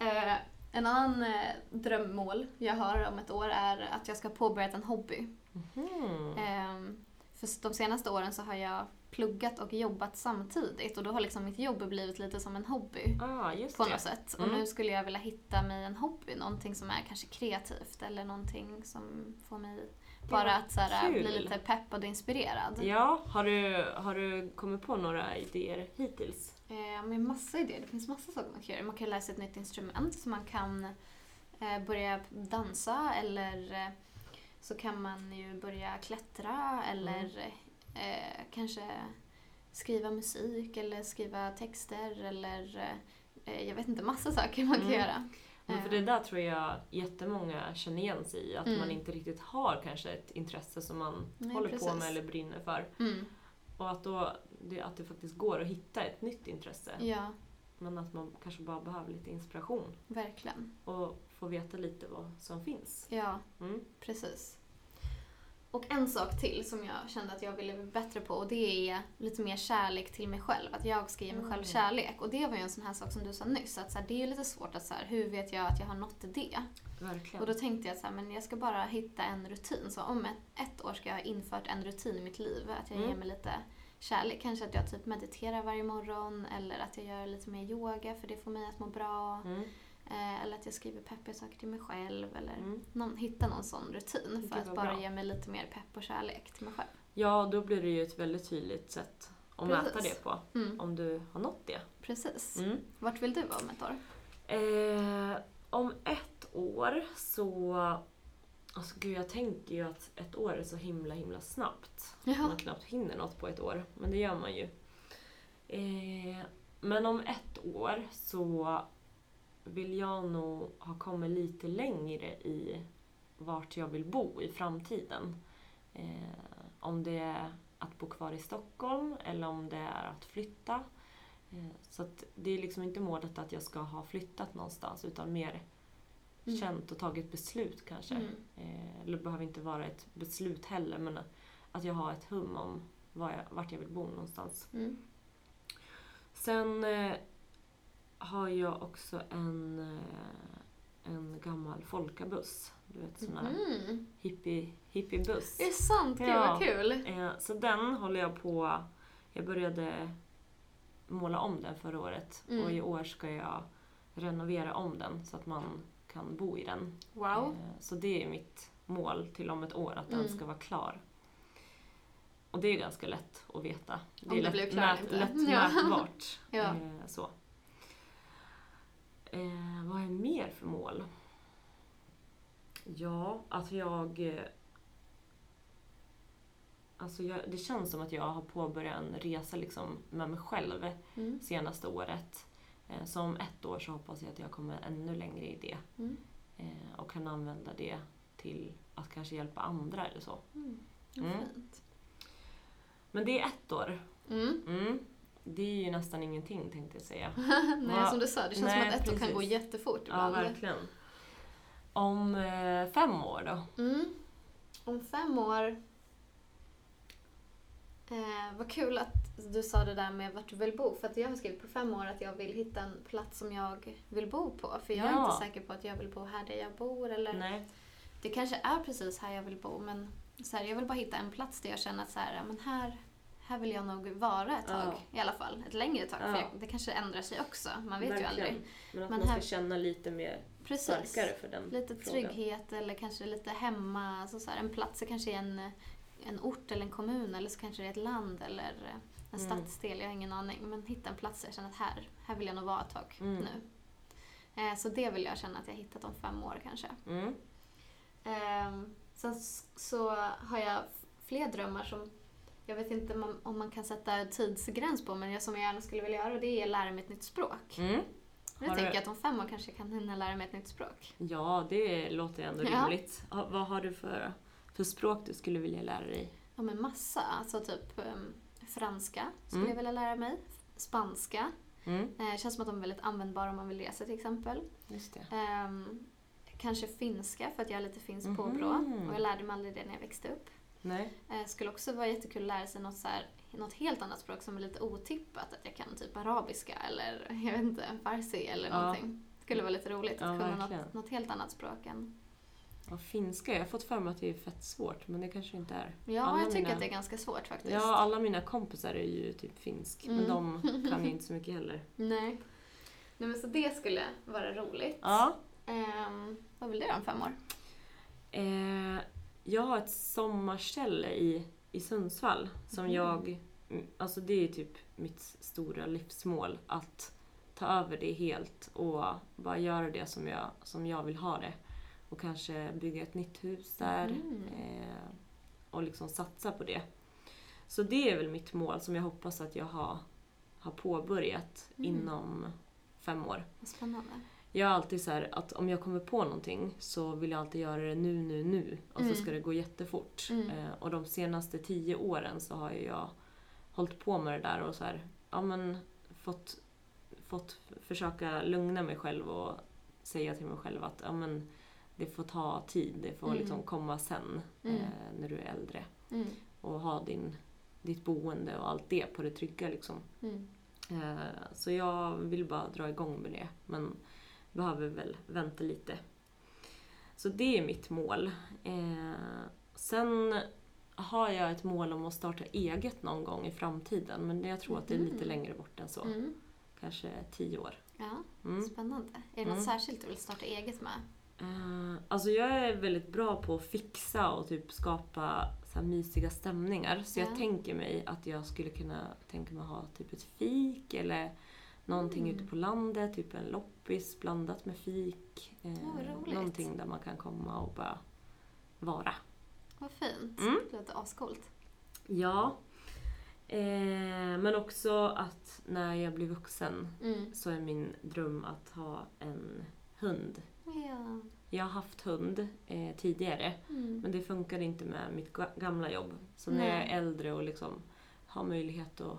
Speaker 2: Eh, en annan eh, drömmål jag har om ett år är att jag ska ha påbörjat en hobby.
Speaker 1: Mm. Mhm.
Speaker 2: Eh, för s- de senaste åren så har jag pluggat och jobbat samtidigt och då har liksom mitt jobb blivit lite som en hobby
Speaker 1: Ah, just
Speaker 2: på
Speaker 1: det.
Speaker 2: något sätt. Och
Speaker 1: Mm.
Speaker 2: nu skulle jag vilja hitta mig en hobby, någonting som är kanske kreativt eller någonting som får mig bara
Speaker 1: var
Speaker 2: att så här,
Speaker 1: kul.
Speaker 2: bli lite peppad och inspirerad.
Speaker 1: Ja, har du, har du kommit på några idéer hittills?
Speaker 2: Eh, men massa idéer. Det finns massa saker man kan göra. Man kan lära sig ett nytt instrument så man kan eh, börja dansa eller eh, så kan man ju börja klättra
Speaker 1: Mm.
Speaker 2: eller eh, kanske skriva musik eller skriva texter eller eh, jag vet inte, massa saker man kan
Speaker 1: Mm.
Speaker 2: göra.
Speaker 1: Men för
Speaker 2: Eh,
Speaker 1: det där tror jag jättemånga känner igen sig i, att
Speaker 2: Mm.
Speaker 1: man inte riktigt har kanske ett intresse som man
Speaker 2: Eh, Nej,
Speaker 1: håller på
Speaker 2: precis.
Speaker 1: med eller brinner för.
Speaker 2: Mm,
Speaker 1: Och att, då, det, att det faktiskt går att hitta ett nytt intresse.
Speaker 2: ja,
Speaker 1: Men att man kanske bara behöver lite inspiration
Speaker 2: verkligen.
Speaker 1: och få veta lite vad som finns.
Speaker 2: Ja,
Speaker 1: Mm.
Speaker 2: precis. Och en sak till som jag kände att jag ville bli bättre på och det är lite mer kärlek till mig själv. Att jag ska ge mig
Speaker 1: Mm.
Speaker 2: själv kärlek. Och det var ju en sån här sak som du sa nyss, att så här, det är ju lite svårt att så här, hur vet jag att jag har nått det?
Speaker 1: Verkligen.
Speaker 2: Och då tänkte jag så här, men jag ska bara hitta en rutin. Så om ett, ett år ska jag ha infört en rutin i mitt liv. Att jag
Speaker 1: Mm.
Speaker 2: ger mig lite kärlek. Kanske att jag typ mediterar varje morgon eller att jag gör lite mer yoga för det får mig att må bra.
Speaker 1: mm.
Speaker 2: Eh, eller att jag skriver peppiga saker till mig själv. Eller
Speaker 1: Mm.
Speaker 2: någon, hitta någon sån rutin för
Speaker 1: Gud,
Speaker 2: att
Speaker 1: vad
Speaker 2: bara
Speaker 1: bra.
Speaker 2: ge mig lite mer pepp och kärlek till mig själv.
Speaker 1: Ja, då blir det ju ett väldigt tydligt sätt att mäta
Speaker 2: Precis.
Speaker 1: det på.
Speaker 2: Mm,
Speaker 1: Om du har nått det.
Speaker 2: precis.
Speaker 1: Mm.
Speaker 2: Vart vill du vara om ett år?
Speaker 1: Eh, om ett år så... Alltså gud, jag tänker ju att ett år är så himla himla snabbt.
Speaker 2: Jaha.
Speaker 1: Man knappt hinner något på ett år, men det gör man ju. Eh, men om ett år så vill jag nog ha kommit lite längre i vart jag vill bo i framtiden. Eh, om det är att bo kvar i Stockholm eller om det är att flytta. Eh, Så att det är liksom inte målet att jag ska ha flyttat någonstans utan mer
Speaker 2: Mm.
Speaker 1: känt och tagit beslut kanske.
Speaker 2: Mm.
Speaker 1: Eh, Eller det behöver inte vara ett beslut heller men att jag har ett hum om var jag, vart jag vill bo någonstans.
Speaker 2: Mm.
Speaker 1: Sen eh, har jag också en, eh, en gammal folkabuss. Du vet sån här
Speaker 2: Mm.
Speaker 1: hippie, hippiebuss.
Speaker 2: Det är sant, gud
Speaker 1: Ja.
Speaker 2: vad kul!
Speaker 1: Eh, Så den håller jag på... Jag började måla om den förra året
Speaker 2: Mm.
Speaker 1: och i år ska jag renovera om den så att man kan bo i den.
Speaker 2: Wow.
Speaker 1: Eh, Så det är mitt mål till om ett år, att den
Speaker 2: Mm.
Speaker 1: ska vara klar. Och det är ganska lätt att veta. Det
Speaker 2: Om
Speaker 1: är
Speaker 2: den
Speaker 1: lätt,
Speaker 2: blir klar eller
Speaker 1: mät,
Speaker 2: inte.
Speaker 1: lätt
Speaker 2: Ja.
Speaker 1: mätbart.
Speaker 2: Ja.
Speaker 1: Eh, Så. Eh, vad är mer för mål? Ja, att jag... eh, Alltså jag, det känns som att jag har påbörjat en resa liksom med mig själv
Speaker 2: Mm.
Speaker 1: senaste året. Eh, Så om ett år så hoppas jag att jag kommer ännu längre i det
Speaker 2: Mm.
Speaker 1: eh, och kan använda det till att kanske hjälpa andra eller så.
Speaker 2: Mm.
Speaker 1: Mm.
Speaker 2: Vad fint.
Speaker 1: Men det är ett år.
Speaker 2: Mm.
Speaker 1: Mm. Det är ju nästan ingenting tänkte jag säga.
Speaker 2: Nej,
Speaker 1: Va-
Speaker 2: som du sa, det känns
Speaker 1: Nej,
Speaker 2: som att ett år kan
Speaker 1: precis.
Speaker 2: gå jättefort
Speaker 1: Ja,
Speaker 2: ibland.
Speaker 1: verkligen. Om eh, fem år då?
Speaker 2: Mm. Om fem år... Eh, vad kul att du sa det där med vart du vill bo. För att jag har skrivit på fem år att jag vill hitta en plats som jag vill bo på. För jag är
Speaker 1: Ja.
Speaker 2: inte säker på att jag vill bo här där jag bor. Eller
Speaker 1: Nej.
Speaker 2: Det kanske är precis här jag vill bo. Men så här, jag vill bara hitta en plats där jag känner att så här, ja, men här, här vill jag nog vara ett
Speaker 1: Ja.
Speaker 2: tag. I alla fall ett längre tag. För
Speaker 1: Ja.
Speaker 2: jag, det kanske ändrar sig också. Man vet ju
Speaker 1: verkligen.
Speaker 2: aldrig.
Speaker 1: Men att
Speaker 2: Men
Speaker 1: man
Speaker 2: här-
Speaker 1: ska känna lite mer
Speaker 2: Precis.
Speaker 1: starkare för den
Speaker 2: Lite
Speaker 1: frågan.
Speaker 2: trygghet eller kanske lite hemma, alltså så här, en plats, det kanske är en, en ort eller en kommun eller så kanske det är ett land eller en
Speaker 1: Mm.
Speaker 2: stadsdel, jag har ingen aning. Men hitta en plats där jag känner att här, här vill jag nog vara ett tag
Speaker 1: Mm.
Speaker 2: nu. Eh, så det vill jag känna att jag hittat om fem år kanske.
Speaker 1: Mm.
Speaker 2: Ehm, sen s- så har jag f- fler drömmar som jag vet inte man- om man kan sätta tidsgräns på men jag som jag gärna skulle vilja göra och det är att lära mig ett nytt språk.
Speaker 1: Mm.
Speaker 2: Jag
Speaker 1: Har du-
Speaker 2: tänker att om fem år kanske jag kan hinna lära mig ett nytt språk.
Speaker 1: Ja, det låter ändå
Speaker 2: Ja.
Speaker 1: rimligt. Ha- Vad har du för, för språk du skulle vilja lära dig?
Speaker 2: Ja men massa. Alltså typ ehm, franska skulle
Speaker 1: Mm.
Speaker 2: jag vilja lära mig. Spanska.
Speaker 1: Mm.
Speaker 2: Eh, känns som att de är väldigt användbara om man vill resa till exempel.
Speaker 1: Just det.
Speaker 2: Ehm, kanske finska för att jag har lite finskt
Speaker 1: Mhm.
Speaker 2: påbrå. Och jag lärde mig aldrig det när jag växte upp.
Speaker 1: Nej.
Speaker 2: Eh, skulle också vara jättekul att lära sig något så här något helt annat språk som är lite otippat. Att jag kan typ arabiska eller jag vet inte, farsi eller
Speaker 1: Ja.
Speaker 2: någonting. Det skulle vara lite roligt att
Speaker 1: Ja,
Speaker 2: kunna
Speaker 1: verkligen.
Speaker 2: något, något helt annat språk än...
Speaker 1: Ja, finska, jag har fått för mig att det är fett svårt, men det kanske inte är.
Speaker 2: Ja,
Speaker 1: Alla
Speaker 2: jag tycker
Speaker 1: mina-
Speaker 2: att det är ganska svårt faktiskt.
Speaker 1: Ja, alla mina kompisar är ju typ finsk, men
Speaker 2: Mm.
Speaker 1: de kan ju inte så mycket heller.
Speaker 2: Nej. Nej men så det skulle vara roligt.
Speaker 1: Ja.
Speaker 2: Ehm, vad vill du göra om fem år?
Speaker 1: Eh, jag har ett sommarställe i, i Sundsvall som
Speaker 2: Mhm.
Speaker 1: jag... mm, Alltså det är typ mitt stora livsmål. Att ta över det helt och bara göra det som jag, som jag vill ha det. Och kanske bygga ett nytt hus där.
Speaker 2: Mm.
Speaker 1: Eh, och liksom satsa på det. Så det är väl mitt mål som jag hoppas att jag har, har påbörjat
Speaker 2: Mm.
Speaker 1: inom fem år.
Speaker 2: Vad spännande.
Speaker 1: Jag är alltid så här att om jag kommer på någonting så vill jag alltid göra det nu, nu, nu. Och
Speaker 2: Mm.
Speaker 1: så ska det gå jättefort.
Speaker 2: Mm.
Speaker 1: Eh, och de senaste tio åren så har ju jag hållit på med det där och så här, ja men fått, fått försöka lugna mig själv och säga till mig själv att ja men det får ta tid, det får
Speaker 2: Mm.
Speaker 1: liksom komma sen
Speaker 2: Mm.
Speaker 1: eh, när du är äldre.
Speaker 2: Mm.
Speaker 1: Och ha din, ditt boende och allt det på det trygga liksom.
Speaker 2: Mm.
Speaker 1: Eh, Så jag vill bara dra igång med det, men behöver väl vänta lite. Så det är mitt mål. Eh, Sen har jag ett mål om att starta eget någon gång i framtiden, men jag tror att det är lite
Speaker 2: Mhm.
Speaker 1: längre bort än så.
Speaker 2: Mm.
Speaker 1: Kanske tio år.
Speaker 2: Ja,
Speaker 1: Mm.
Speaker 2: spännande. Är det något
Speaker 1: Mm.
Speaker 2: särskilt du vill starta eget med?
Speaker 1: Eh, Alltså jag är väldigt bra på att fixa och typ skapa så här mysiga stämningar. Så
Speaker 2: Ja.
Speaker 1: jag tänker mig att jag skulle kunna tänka mig ha typ ett fik eller någonting
Speaker 2: Mm.
Speaker 1: ute på landet, typ en loppis blandat med fik. Eh,
Speaker 2: vad roligt.
Speaker 1: någonting där man kan komma och bara vara.
Speaker 2: Vad fint.
Speaker 1: Mm.
Speaker 2: Det låter ascoolt.
Speaker 1: Ja. Eh, men också att när jag blir vuxen
Speaker 2: Mm.
Speaker 1: så är min dröm att ha en hund.
Speaker 2: Ja.
Speaker 1: Jag har haft hund eh, tidigare
Speaker 2: Mm.
Speaker 1: Men det funkar inte med mitt ga- gamla jobb. Så när jag
Speaker 2: Nej.
Speaker 1: är äldre och liksom har möjlighet att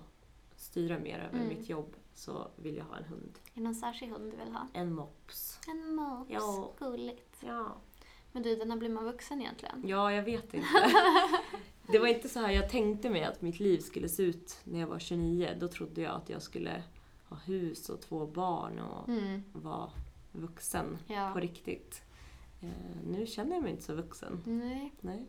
Speaker 1: styra mer över
Speaker 2: Mm.
Speaker 1: mitt jobb så vill jag ha en hund.
Speaker 2: Är det någon särskild hund du vill ha?
Speaker 1: En mops.
Speaker 2: En mops.
Speaker 1: Ja.
Speaker 2: Gulligt.
Speaker 1: Ja.
Speaker 2: Men du, när blir man vuxen egentligen?
Speaker 1: ja, jag vet inte. Det var inte så här jag tänkte mig att mitt liv skulle se ut när jag var 29. Då trodde jag att jag skulle ha hus och två barn och
Speaker 2: Mm.
Speaker 1: vara vuxen på
Speaker 2: Ja.
Speaker 1: riktigt. Eh, Nu känner jag mig inte så vuxen.
Speaker 2: Nej.
Speaker 1: Nej.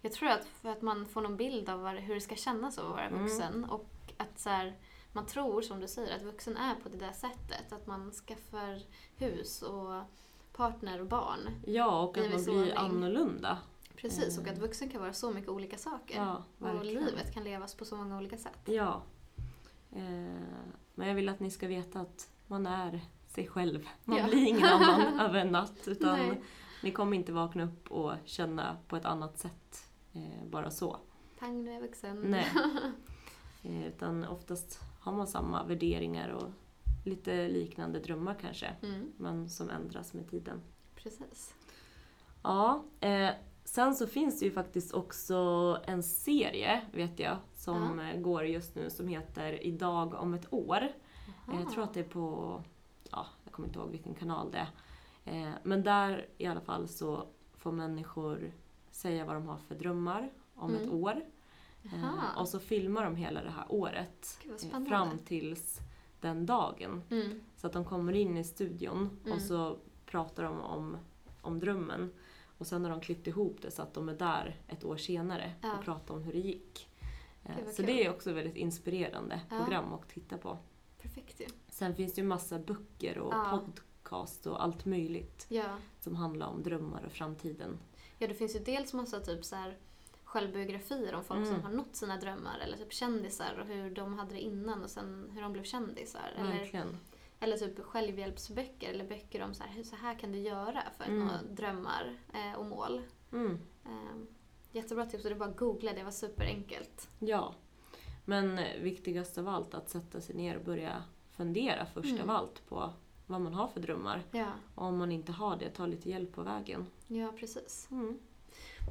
Speaker 2: Jag tror att för att man får någon bild av vad, hur det ska kännas att vara
Speaker 1: Mm.
Speaker 2: vuxen och att så här, man tror som du säger att vuxen är på det där sättet. Att man skaffar hus och partner och barn.
Speaker 1: Ja, och att
Speaker 2: Liv i
Speaker 1: man blir
Speaker 2: såning.
Speaker 1: annorlunda.
Speaker 2: Precis, och
Speaker 1: Mm.
Speaker 2: att vuxen kan vara så mycket olika saker.
Speaker 1: Ja,
Speaker 2: och
Speaker 1: verkligen.
Speaker 2: livet kan levas på så många olika sätt.
Speaker 1: Ja. Eh, men jag vill att ni ska veta att man är sig själv. Man
Speaker 2: Ja.
Speaker 1: blir ingen annan över en natt. Utan
Speaker 2: Nej.
Speaker 1: ni kommer inte vakna upp och känna på ett annat sätt eh, bara så.
Speaker 2: Pang, nu är jag vuxen.
Speaker 1: Nej. Eh, utan oftast har man samma värderingar och lite liknande drömmar kanske.
Speaker 2: Mm,
Speaker 1: Men som ändras med tiden.
Speaker 2: precis.
Speaker 1: Ja, eh, sen så finns det ju faktiskt också en serie, vet jag, som eh, går just nu som heter Idag om ett år. Eh, Jag tror att det är på, ja, jag kommer inte ihåg vilken kanal det är. Eh, Men där i alla fall så får människor säga vad de har för drömmar om ett
Speaker 2: Mm.
Speaker 1: år. Eh,
Speaker 2: Jaha.
Speaker 1: Och så filmar de hela det här året
Speaker 2: Gud, vad
Speaker 1: eh,
Speaker 2: spännande.
Speaker 1: fram tills den dagen.
Speaker 2: Mm,
Speaker 1: Så att de kommer in i studion
Speaker 2: Mm.
Speaker 1: och så pratar de om, om drömmen. Och sen har de klippt ihop det så att de är där ett år senare
Speaker 2: Ja.
Speaker 1: och pratar om hur det gick. Eh,
Speaker 2: Gud, vad
Speaker 1: Så
Speaker 2: kul.
Speaker 1: det är också väldigt inspirerande
Speaker 2: Ja.
Speaker 1: program att titta på.
Speaker 2: perfekt ju.
Speaker 1: Sen finns det ju massa böcker och
Speaker 2: Ja.
Speaker 1: podcast och allt möjligt
Speaker 2: Ja.
Speaker 1: som handlar om drömmar och framtiden.
Speaker 2: ja, det finns ju dels massa typ så här självbiografier om folk
Speaker 1: Mm.
Speaker 2: som har nått sina drömmar eller typ kändisar och hur de hade det innan och sen hur de blev kändisar. Eller,
Speaker 1: Verkligen.
Speaker 2: eller typ självhjälpsböcker eller böcker om så här, hur så här kan du göra för att
Speaker 1: Mm.
Speaker 2: nå drömmar eh, och mål.
Speaker 1: Mm.
Speaker 2: Eh, jättebra tips och det är bara att googla, det var superenkelt.
Speaker 1: Ja. Men eh, viktigast av allt att sätta sig ner och börja fundera först
Speaker 2: Mm.
Speaker 1: av allt på vad man har för drömmar.
Speaker 2: Ja,
Speaker 1: Och om man inte har det, ta lite hjälp på vägen.
Speaker 2: ja precis.
Speaker 1: Mm.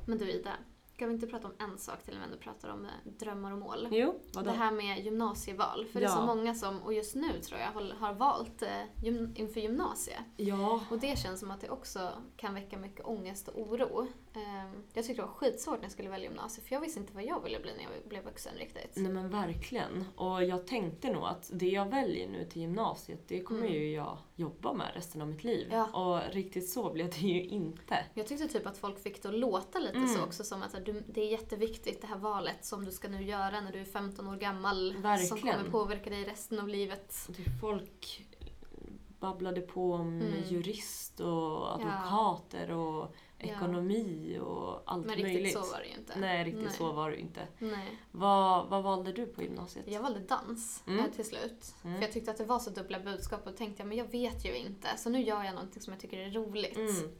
Speaker 2: Men du Ida, Ska vi inte prata om en sak till när vi ändå pratar om eh, drömmar och mål?
Speaker 1: Jo, vadå?
Speaker 2: Det här med gymnasieval. För det är
Speaker 1: Ja.
Speaker 2: så många som, och just nu tror jag, håll- har valt eh, gym, inför gymnasiet.
Speaker 1: Ja.
Speaker 2: Och det känns som att det också kan väcka mycket ångest och oro. Ehm, Jag tyckte det var skitsvårt när jag skulle välja gymnasiet för jag visste inte vad jag ville bli när jag blev vuxen riktigt.
Speaker 1: Nej men verkligen. Och jag tänkte nog att det jag väljer nu till gymnasiet, det kommer
Speaker 2: Mm.
Speaker 1: ju jag jobba med resten av mitt liv.
Speaker 2: Ja.
Speaker 1: Och riktigt så blev det ju inte.
Speaker 2: Jag tyckte typ att folk fick det att låta lite
Speaker 1: Mm.
Speaker 2: så också som att så här, du, det är jätteviktigt det här valet som du ska nu göra när du är 15 år gammal. Som
Speaker 1: Verkligen.
Speaker 2: kommer påverka dig resten av livet.
Speaker 1: Det folk eh, babblade på om
Speaker 2: Mm.
Speaker 1: jurist och advokater och ekonomi och allt
Speaker 2: Men riktigt
Speaker 1: möjligt.
Speaker 2: så var det ju inte.
Speaker 1: Nej, riktigt
Speaker 2: Nej.
Speaker 1: så var det ju inte.
Speaker 2: Nej.
Speaker 1: Vad, vad valde du på gymnasiet?
Speaker 2: Jag valde dans
Speaker 1: Mm.
Speaker 2: eh, till slut.
Speaker 1: Mm.
Speaker 2: För jag tyckte att det var så dubbla budskap och då tänkte jag men jag vet ju inte. Så nu gör jag någonting som jag tycker är roligt.
Speaker 1: Mm.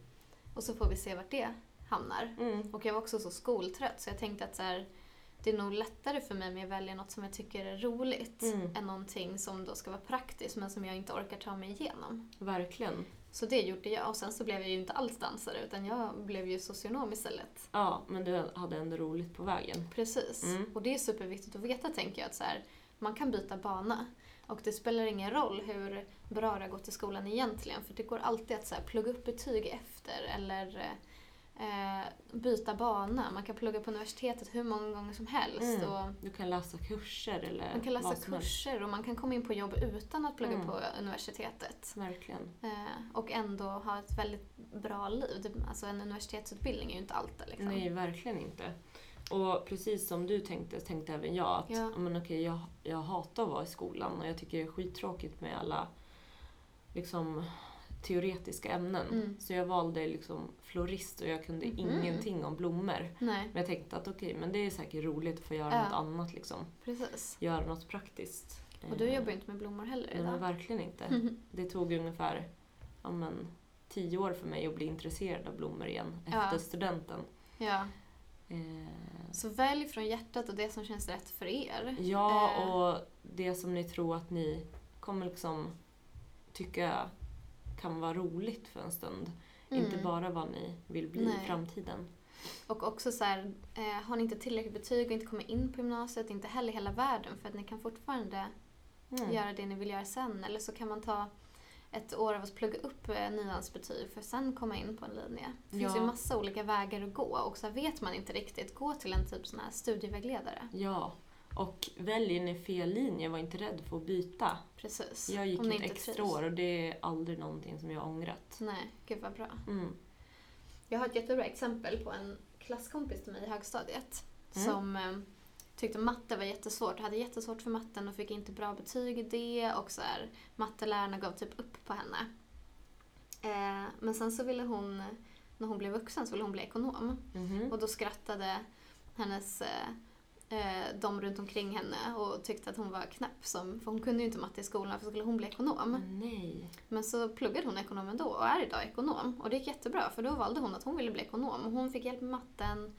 Speaker 2: Och så får vi se vart det hamnar.
Speaker 1: Mm.
Speaker 2: Och jag var också så skoltrött så jag tänkte att så här, det är nog lättare för mig om jag väljer något som jag tycker är roligt
Speaker 1: Mm.
Speaker 2: än någonting som då ska vara praktiskt men som jag inte orkar ta mig igenom.
Speaker 1: Verkligen.
Speaker 2: Så det gjorde jag och sen så blev jag ju inte alls dansare utan jag blev ju socionom istället.
Speaker 1: Ja, men du hade ändå roligt på vägen.
Speaker 2: Precis.
Speaker 1: Mm.
Speaker 2: Och det är superviktigt att veta tänker jag att så här, man kan byta bana. Och det spelar ingen roll hur bra det har gått i skolan egentligen för det går alltid att så här, plugga upp betyg efter eller eh, eh, byta bana. Man kan plugga på universitetet hur många gånger som helst.
Speaker 1: Mm.
Speaker 2: Och
Speaker 1: Du kan läsa kurser eller
Speaker 2: man kan läsa
Speaker 1: vad som helst.
Speaker 2: kurser och man kan komma in på jobb utan att plugga
Speaker 1: Mm.
Speaker 2: på universitetet.
Speaker 1: Verkligen.
Speaker 2: Eh, och ändå ha ett väldigt bra liv. Det- Alltså en universitetsutbildning är ju inte allt det, liksom.
Speaker 1: Nej, verkligen inte. Och precis som du tänkte, tänkte även jag att
Speaker 2: Ja.
Speaker 1: ja. men okej, jag, jag hatar att vara i skolan och jag tycker det är skittråkigt med alla liksom, teoretiska ämnen.
Speaker 2: Mm.
Speaker 1: Så jag valde liksom, florist och jag kunde
Speaker 2: Mhm.
Speaker 1: ingenting om blommor.
Speaker 2: Nej,
Speaker 1: Men jag tänkte att okej, men det är säkert roligt att få göra
Speaker 2: Ja.
Speaker 1: något annat. Liksom.
Speaker 2: precis.
Speaker 1: Göra något praktiskt.
Speaker 2: Och du
Speaker 1: Eh,
Speaker 2: jobbar ju inte med blommor heller
Speaker 1: Nej, men
Speaker 2: idag.
Speaker 1: verkligen inte. Det tog ungefär ja, men, tio år för mig att bli intresserad av blommor igen
Speaker 2: Ja.
Speaker 1: efter studenten.
Speaker 2: Ja.
Speaker 1: Eh,
Speaker 2: Så välj från hjärtat och det som känns rätt för er.
Speaker 1: Ja,
Speaker 2: Eh.
Speaker 1: och det som ni tror att ni kommer liksom tycka kan vara roligt för en stund. Inte
Speaker 2: Mm.
Speaker 1: bara vad ni vill bli
Speaker 2: Nej.
Speaker 1: i framtiden.
Speaker 2: Och också så här, eh, har ni inte tillräckligt betyg och inte kommit in på gymnasiet, inte heller hela världen för att ni kan fortfarande
Speaker 1: Mm.
Speaker 2: göra det ni vill göra sen. Eller så kan man ta ett år av att plugga upp eh, nians betyg för att sen komma in på en linje. Det finns
Speaker 1: Ja.
Speaker 2: ju massa olika vägar att gå och så här vet man inte riktigt, gå till en typ sån här studievägledare.
Speaker 1: Ja, och väljer ni fel linje, var inte rädd för att byta.
Speaker 2: Precis.
Speaker 1: Jag gick
Speaker 2: Om ni
Speaker 1: ett
Speaker 2: inte
Speaker 1: extra
Speaker 2: trivs.
Speaker 1: år och det är aldrig någonting som jag har ångrat.
Speaker 2: Nej, gud vad bra.
Speaker 1: Mm.
Speaker 2: Jag har ett jättebra exempel på en klasskompis till mig i högstadiet
Speaker 1: Mm.
Speaker 2: som eh, tyckte matte var jättesvårt och hade jättesvårt för matten och fick inte bra betyg i det och så här, mattelärarna gav typ upp på henne. Eh, men sen så ville hon, när hon blev vuxen så ville hon bli ekonom
Speaker 1: Mhm.
Speaker 2: och då skrattade hennes eh, eh, de runt omkring henne och tyckte att hon var knäpp som, för hon kunde ju inte matte i skolan för skulle hon bli ekonom.
Speaker 1: Ah, Nej.
Speaker 2: Men så pluggade hon ekonom ändå och är idag ekonom. Och det gick jättebra för då valde hon att hon ville bli ekonom. Och hon fick hjälp med matten,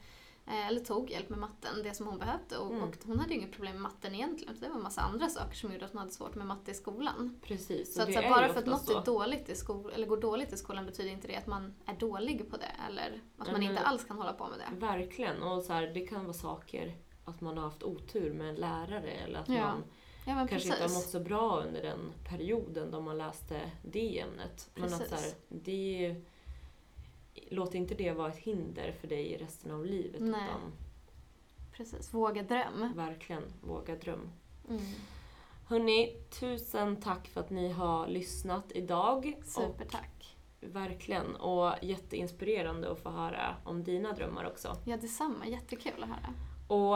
Speaker 2: eh, eller tog hjälp med matten, det som hon behövde. Och,
Speaker 1: Mm.
Speaker 2: och hon hade ju inget problem med matten egentligen. Så det var en massa andra saker som gjorde att hon hade svårt med matte i skolan.
Speaker 1: Precis.
Speaker 2: Så,
Speaker 1: och
Speaker 2: att,
Speaker 1: det
Speaker 2: så
Speaker 1: är
Speaker 2: här,
Speaker 1: ju
Speaker 2: bara för att
Speaker 1: ofta
Speaker 2: något
Speaker 1: så.
Speaker 2: är dåligt i skolan, eller går dåligt i skolan betyder inte det att man är dålig på det. Eller att man
Speaker 1: Mm.
Speaker 2: inte alls kan hålla på med det.
Speaker 1: Verkligen. Och så här, det kan vara saker, att man har haft otur med en lärare eller att
Speaker 2: Ja.
Speaker 1: man
Speaker 2: Ja men
Speaker 1: kanske inte har mått
Speaker 2: precis.
Speaker 1: så bra under den perioden då man läste det ämnet. Men att så här,
Speaker 2: Precis.
Speaker 1: det är ju, låt inte det vara ett hinder för dig i resten av livet.
Speaker 2: Nej.
Speaker 1: Utan
Speaker 2: precis. Våga dröm.
Speaker 1: verkligen våga dröm.
Speaker 2: Mm.
Speaker 1: Hörni, tusen tack för att ni har lyssnat idag. Och
Speaker 2: Supertack.
Speaker 1: verkligen. Och jätteinspirerande att få höra om dina drömmar också.
Speaker 2: Ja detsamma, jättekul att höra.
Speaker 1: Och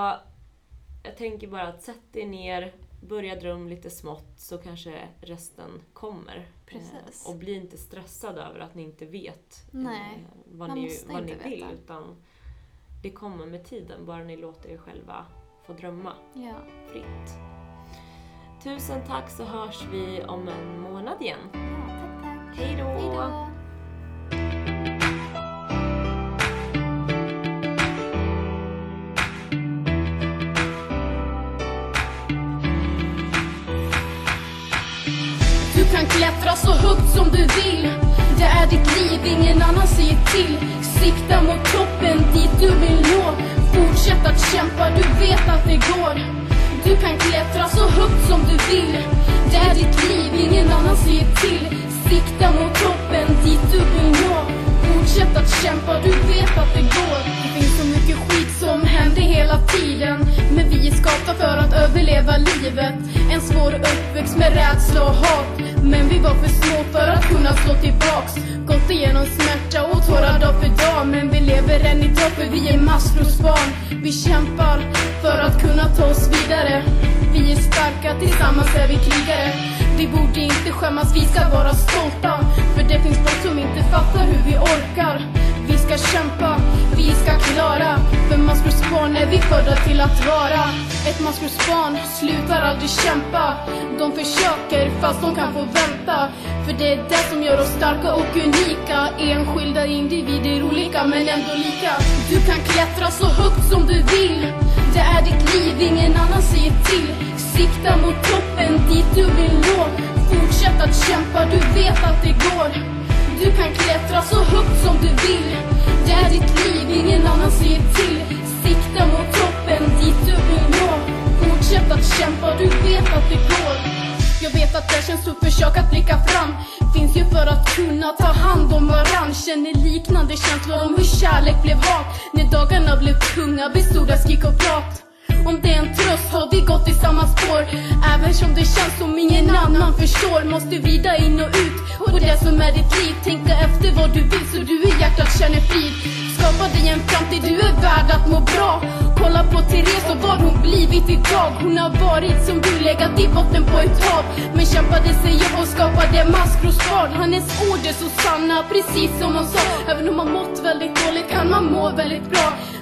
Speaker 1: jag tänker bara att sätt dig ner, börja dröm lite smått så kanske resten kommer.
Speaker 2: Precis.
Speaker 1: Eh, Och bli inte stressad över att ni inte vet
Speaker 2: Nej,
Speaker 1: eh, vad
Speaker 2: man
Speaker 1: ni,
Speaker 2: måste
Speaker 1: vad ni
Speaker 2: inte
Speaker 1: vill.
Speaker 2: veta.
Speaker 1: Utan det kommer med tiden, bara ni låter er själva få drömma
Speaker 2: Ja.
Speaker 1: fritt. Tusen tack så hörs vi om en månad igen.
Speaker 2: ja tack tack.
Speaker 1: Hej då!
Speaker 2: Hej då!
Speaker 3: Du kan klättra så högt som du vill Det är ditt liv, ingen annan säger till Sikta mot toppen dit du vill nå Fortsätt att kämpa, du vet att det går Du kan klättra så högt som du vill Det är ditt liv, ingen annan säger till Sikta mot toppen, dit du vill nå Fortsätt att kämpa, du vet att det går Det finns så mycket skit som händer hela tiden Men vi är skapta för att överleva livet En svår uppväxt med rädsla och hat Men vi var för små för att kunna slå tillbaks Gått igenom smärta och tårar dag för dag Men vi lever än idag för vi är maskrosbarn Vi kämpar för att kunna ta oss vidare Vi är starka, tillsammans är vi krigare Vi borde inte skämmas, vi ska vara stolta För det finns folk som inte fattar hur vi orkar Vi ska kämpa, vi ska klara För maskrosbarn är vi födda till att vara Ett maskrosbarn slutar aldrig kämpa De försöker fast de kan få vänta För det är det som gör oss starka och unika Enskilda individer olika men ändå lika Du kan klättra så högt som du vill Det är ditt liv, ingen annan säger till Sikta mot toppen dit du vill nå Fortsätt att kämpa, du vet att det går du kan klättra så högt som du vill Det är ditt liv, ingen annan säger till Sikta mot toppen, dit du vill nå Fortsätt att kämpa, du vet att det går jag vet att det känns tufft, försök att blicka fram Finns ju för att kunna ta hand om varann Känner liknande känslor om hur kärlek blev hat När dagarna blev tunga bestod av skrik och prat om det är en tröst har vi gått i samma spår Även som det känns som ingen annan förstår Måste vrida in och ut på det som är ditt liv Tänka efter vad du vill så du i hjärtat känner frid Skapa dig en framtid, du är värd att må bra Kolla på Therese och vad hon blivit idag Hon har varit som du, legat i botten på ett hav Men kämpade sig upp och skapade maskrosbarn Hennes ord är så sanna, precis som hon sa Även om man mått väldigt dåligt kan man må väldigt bra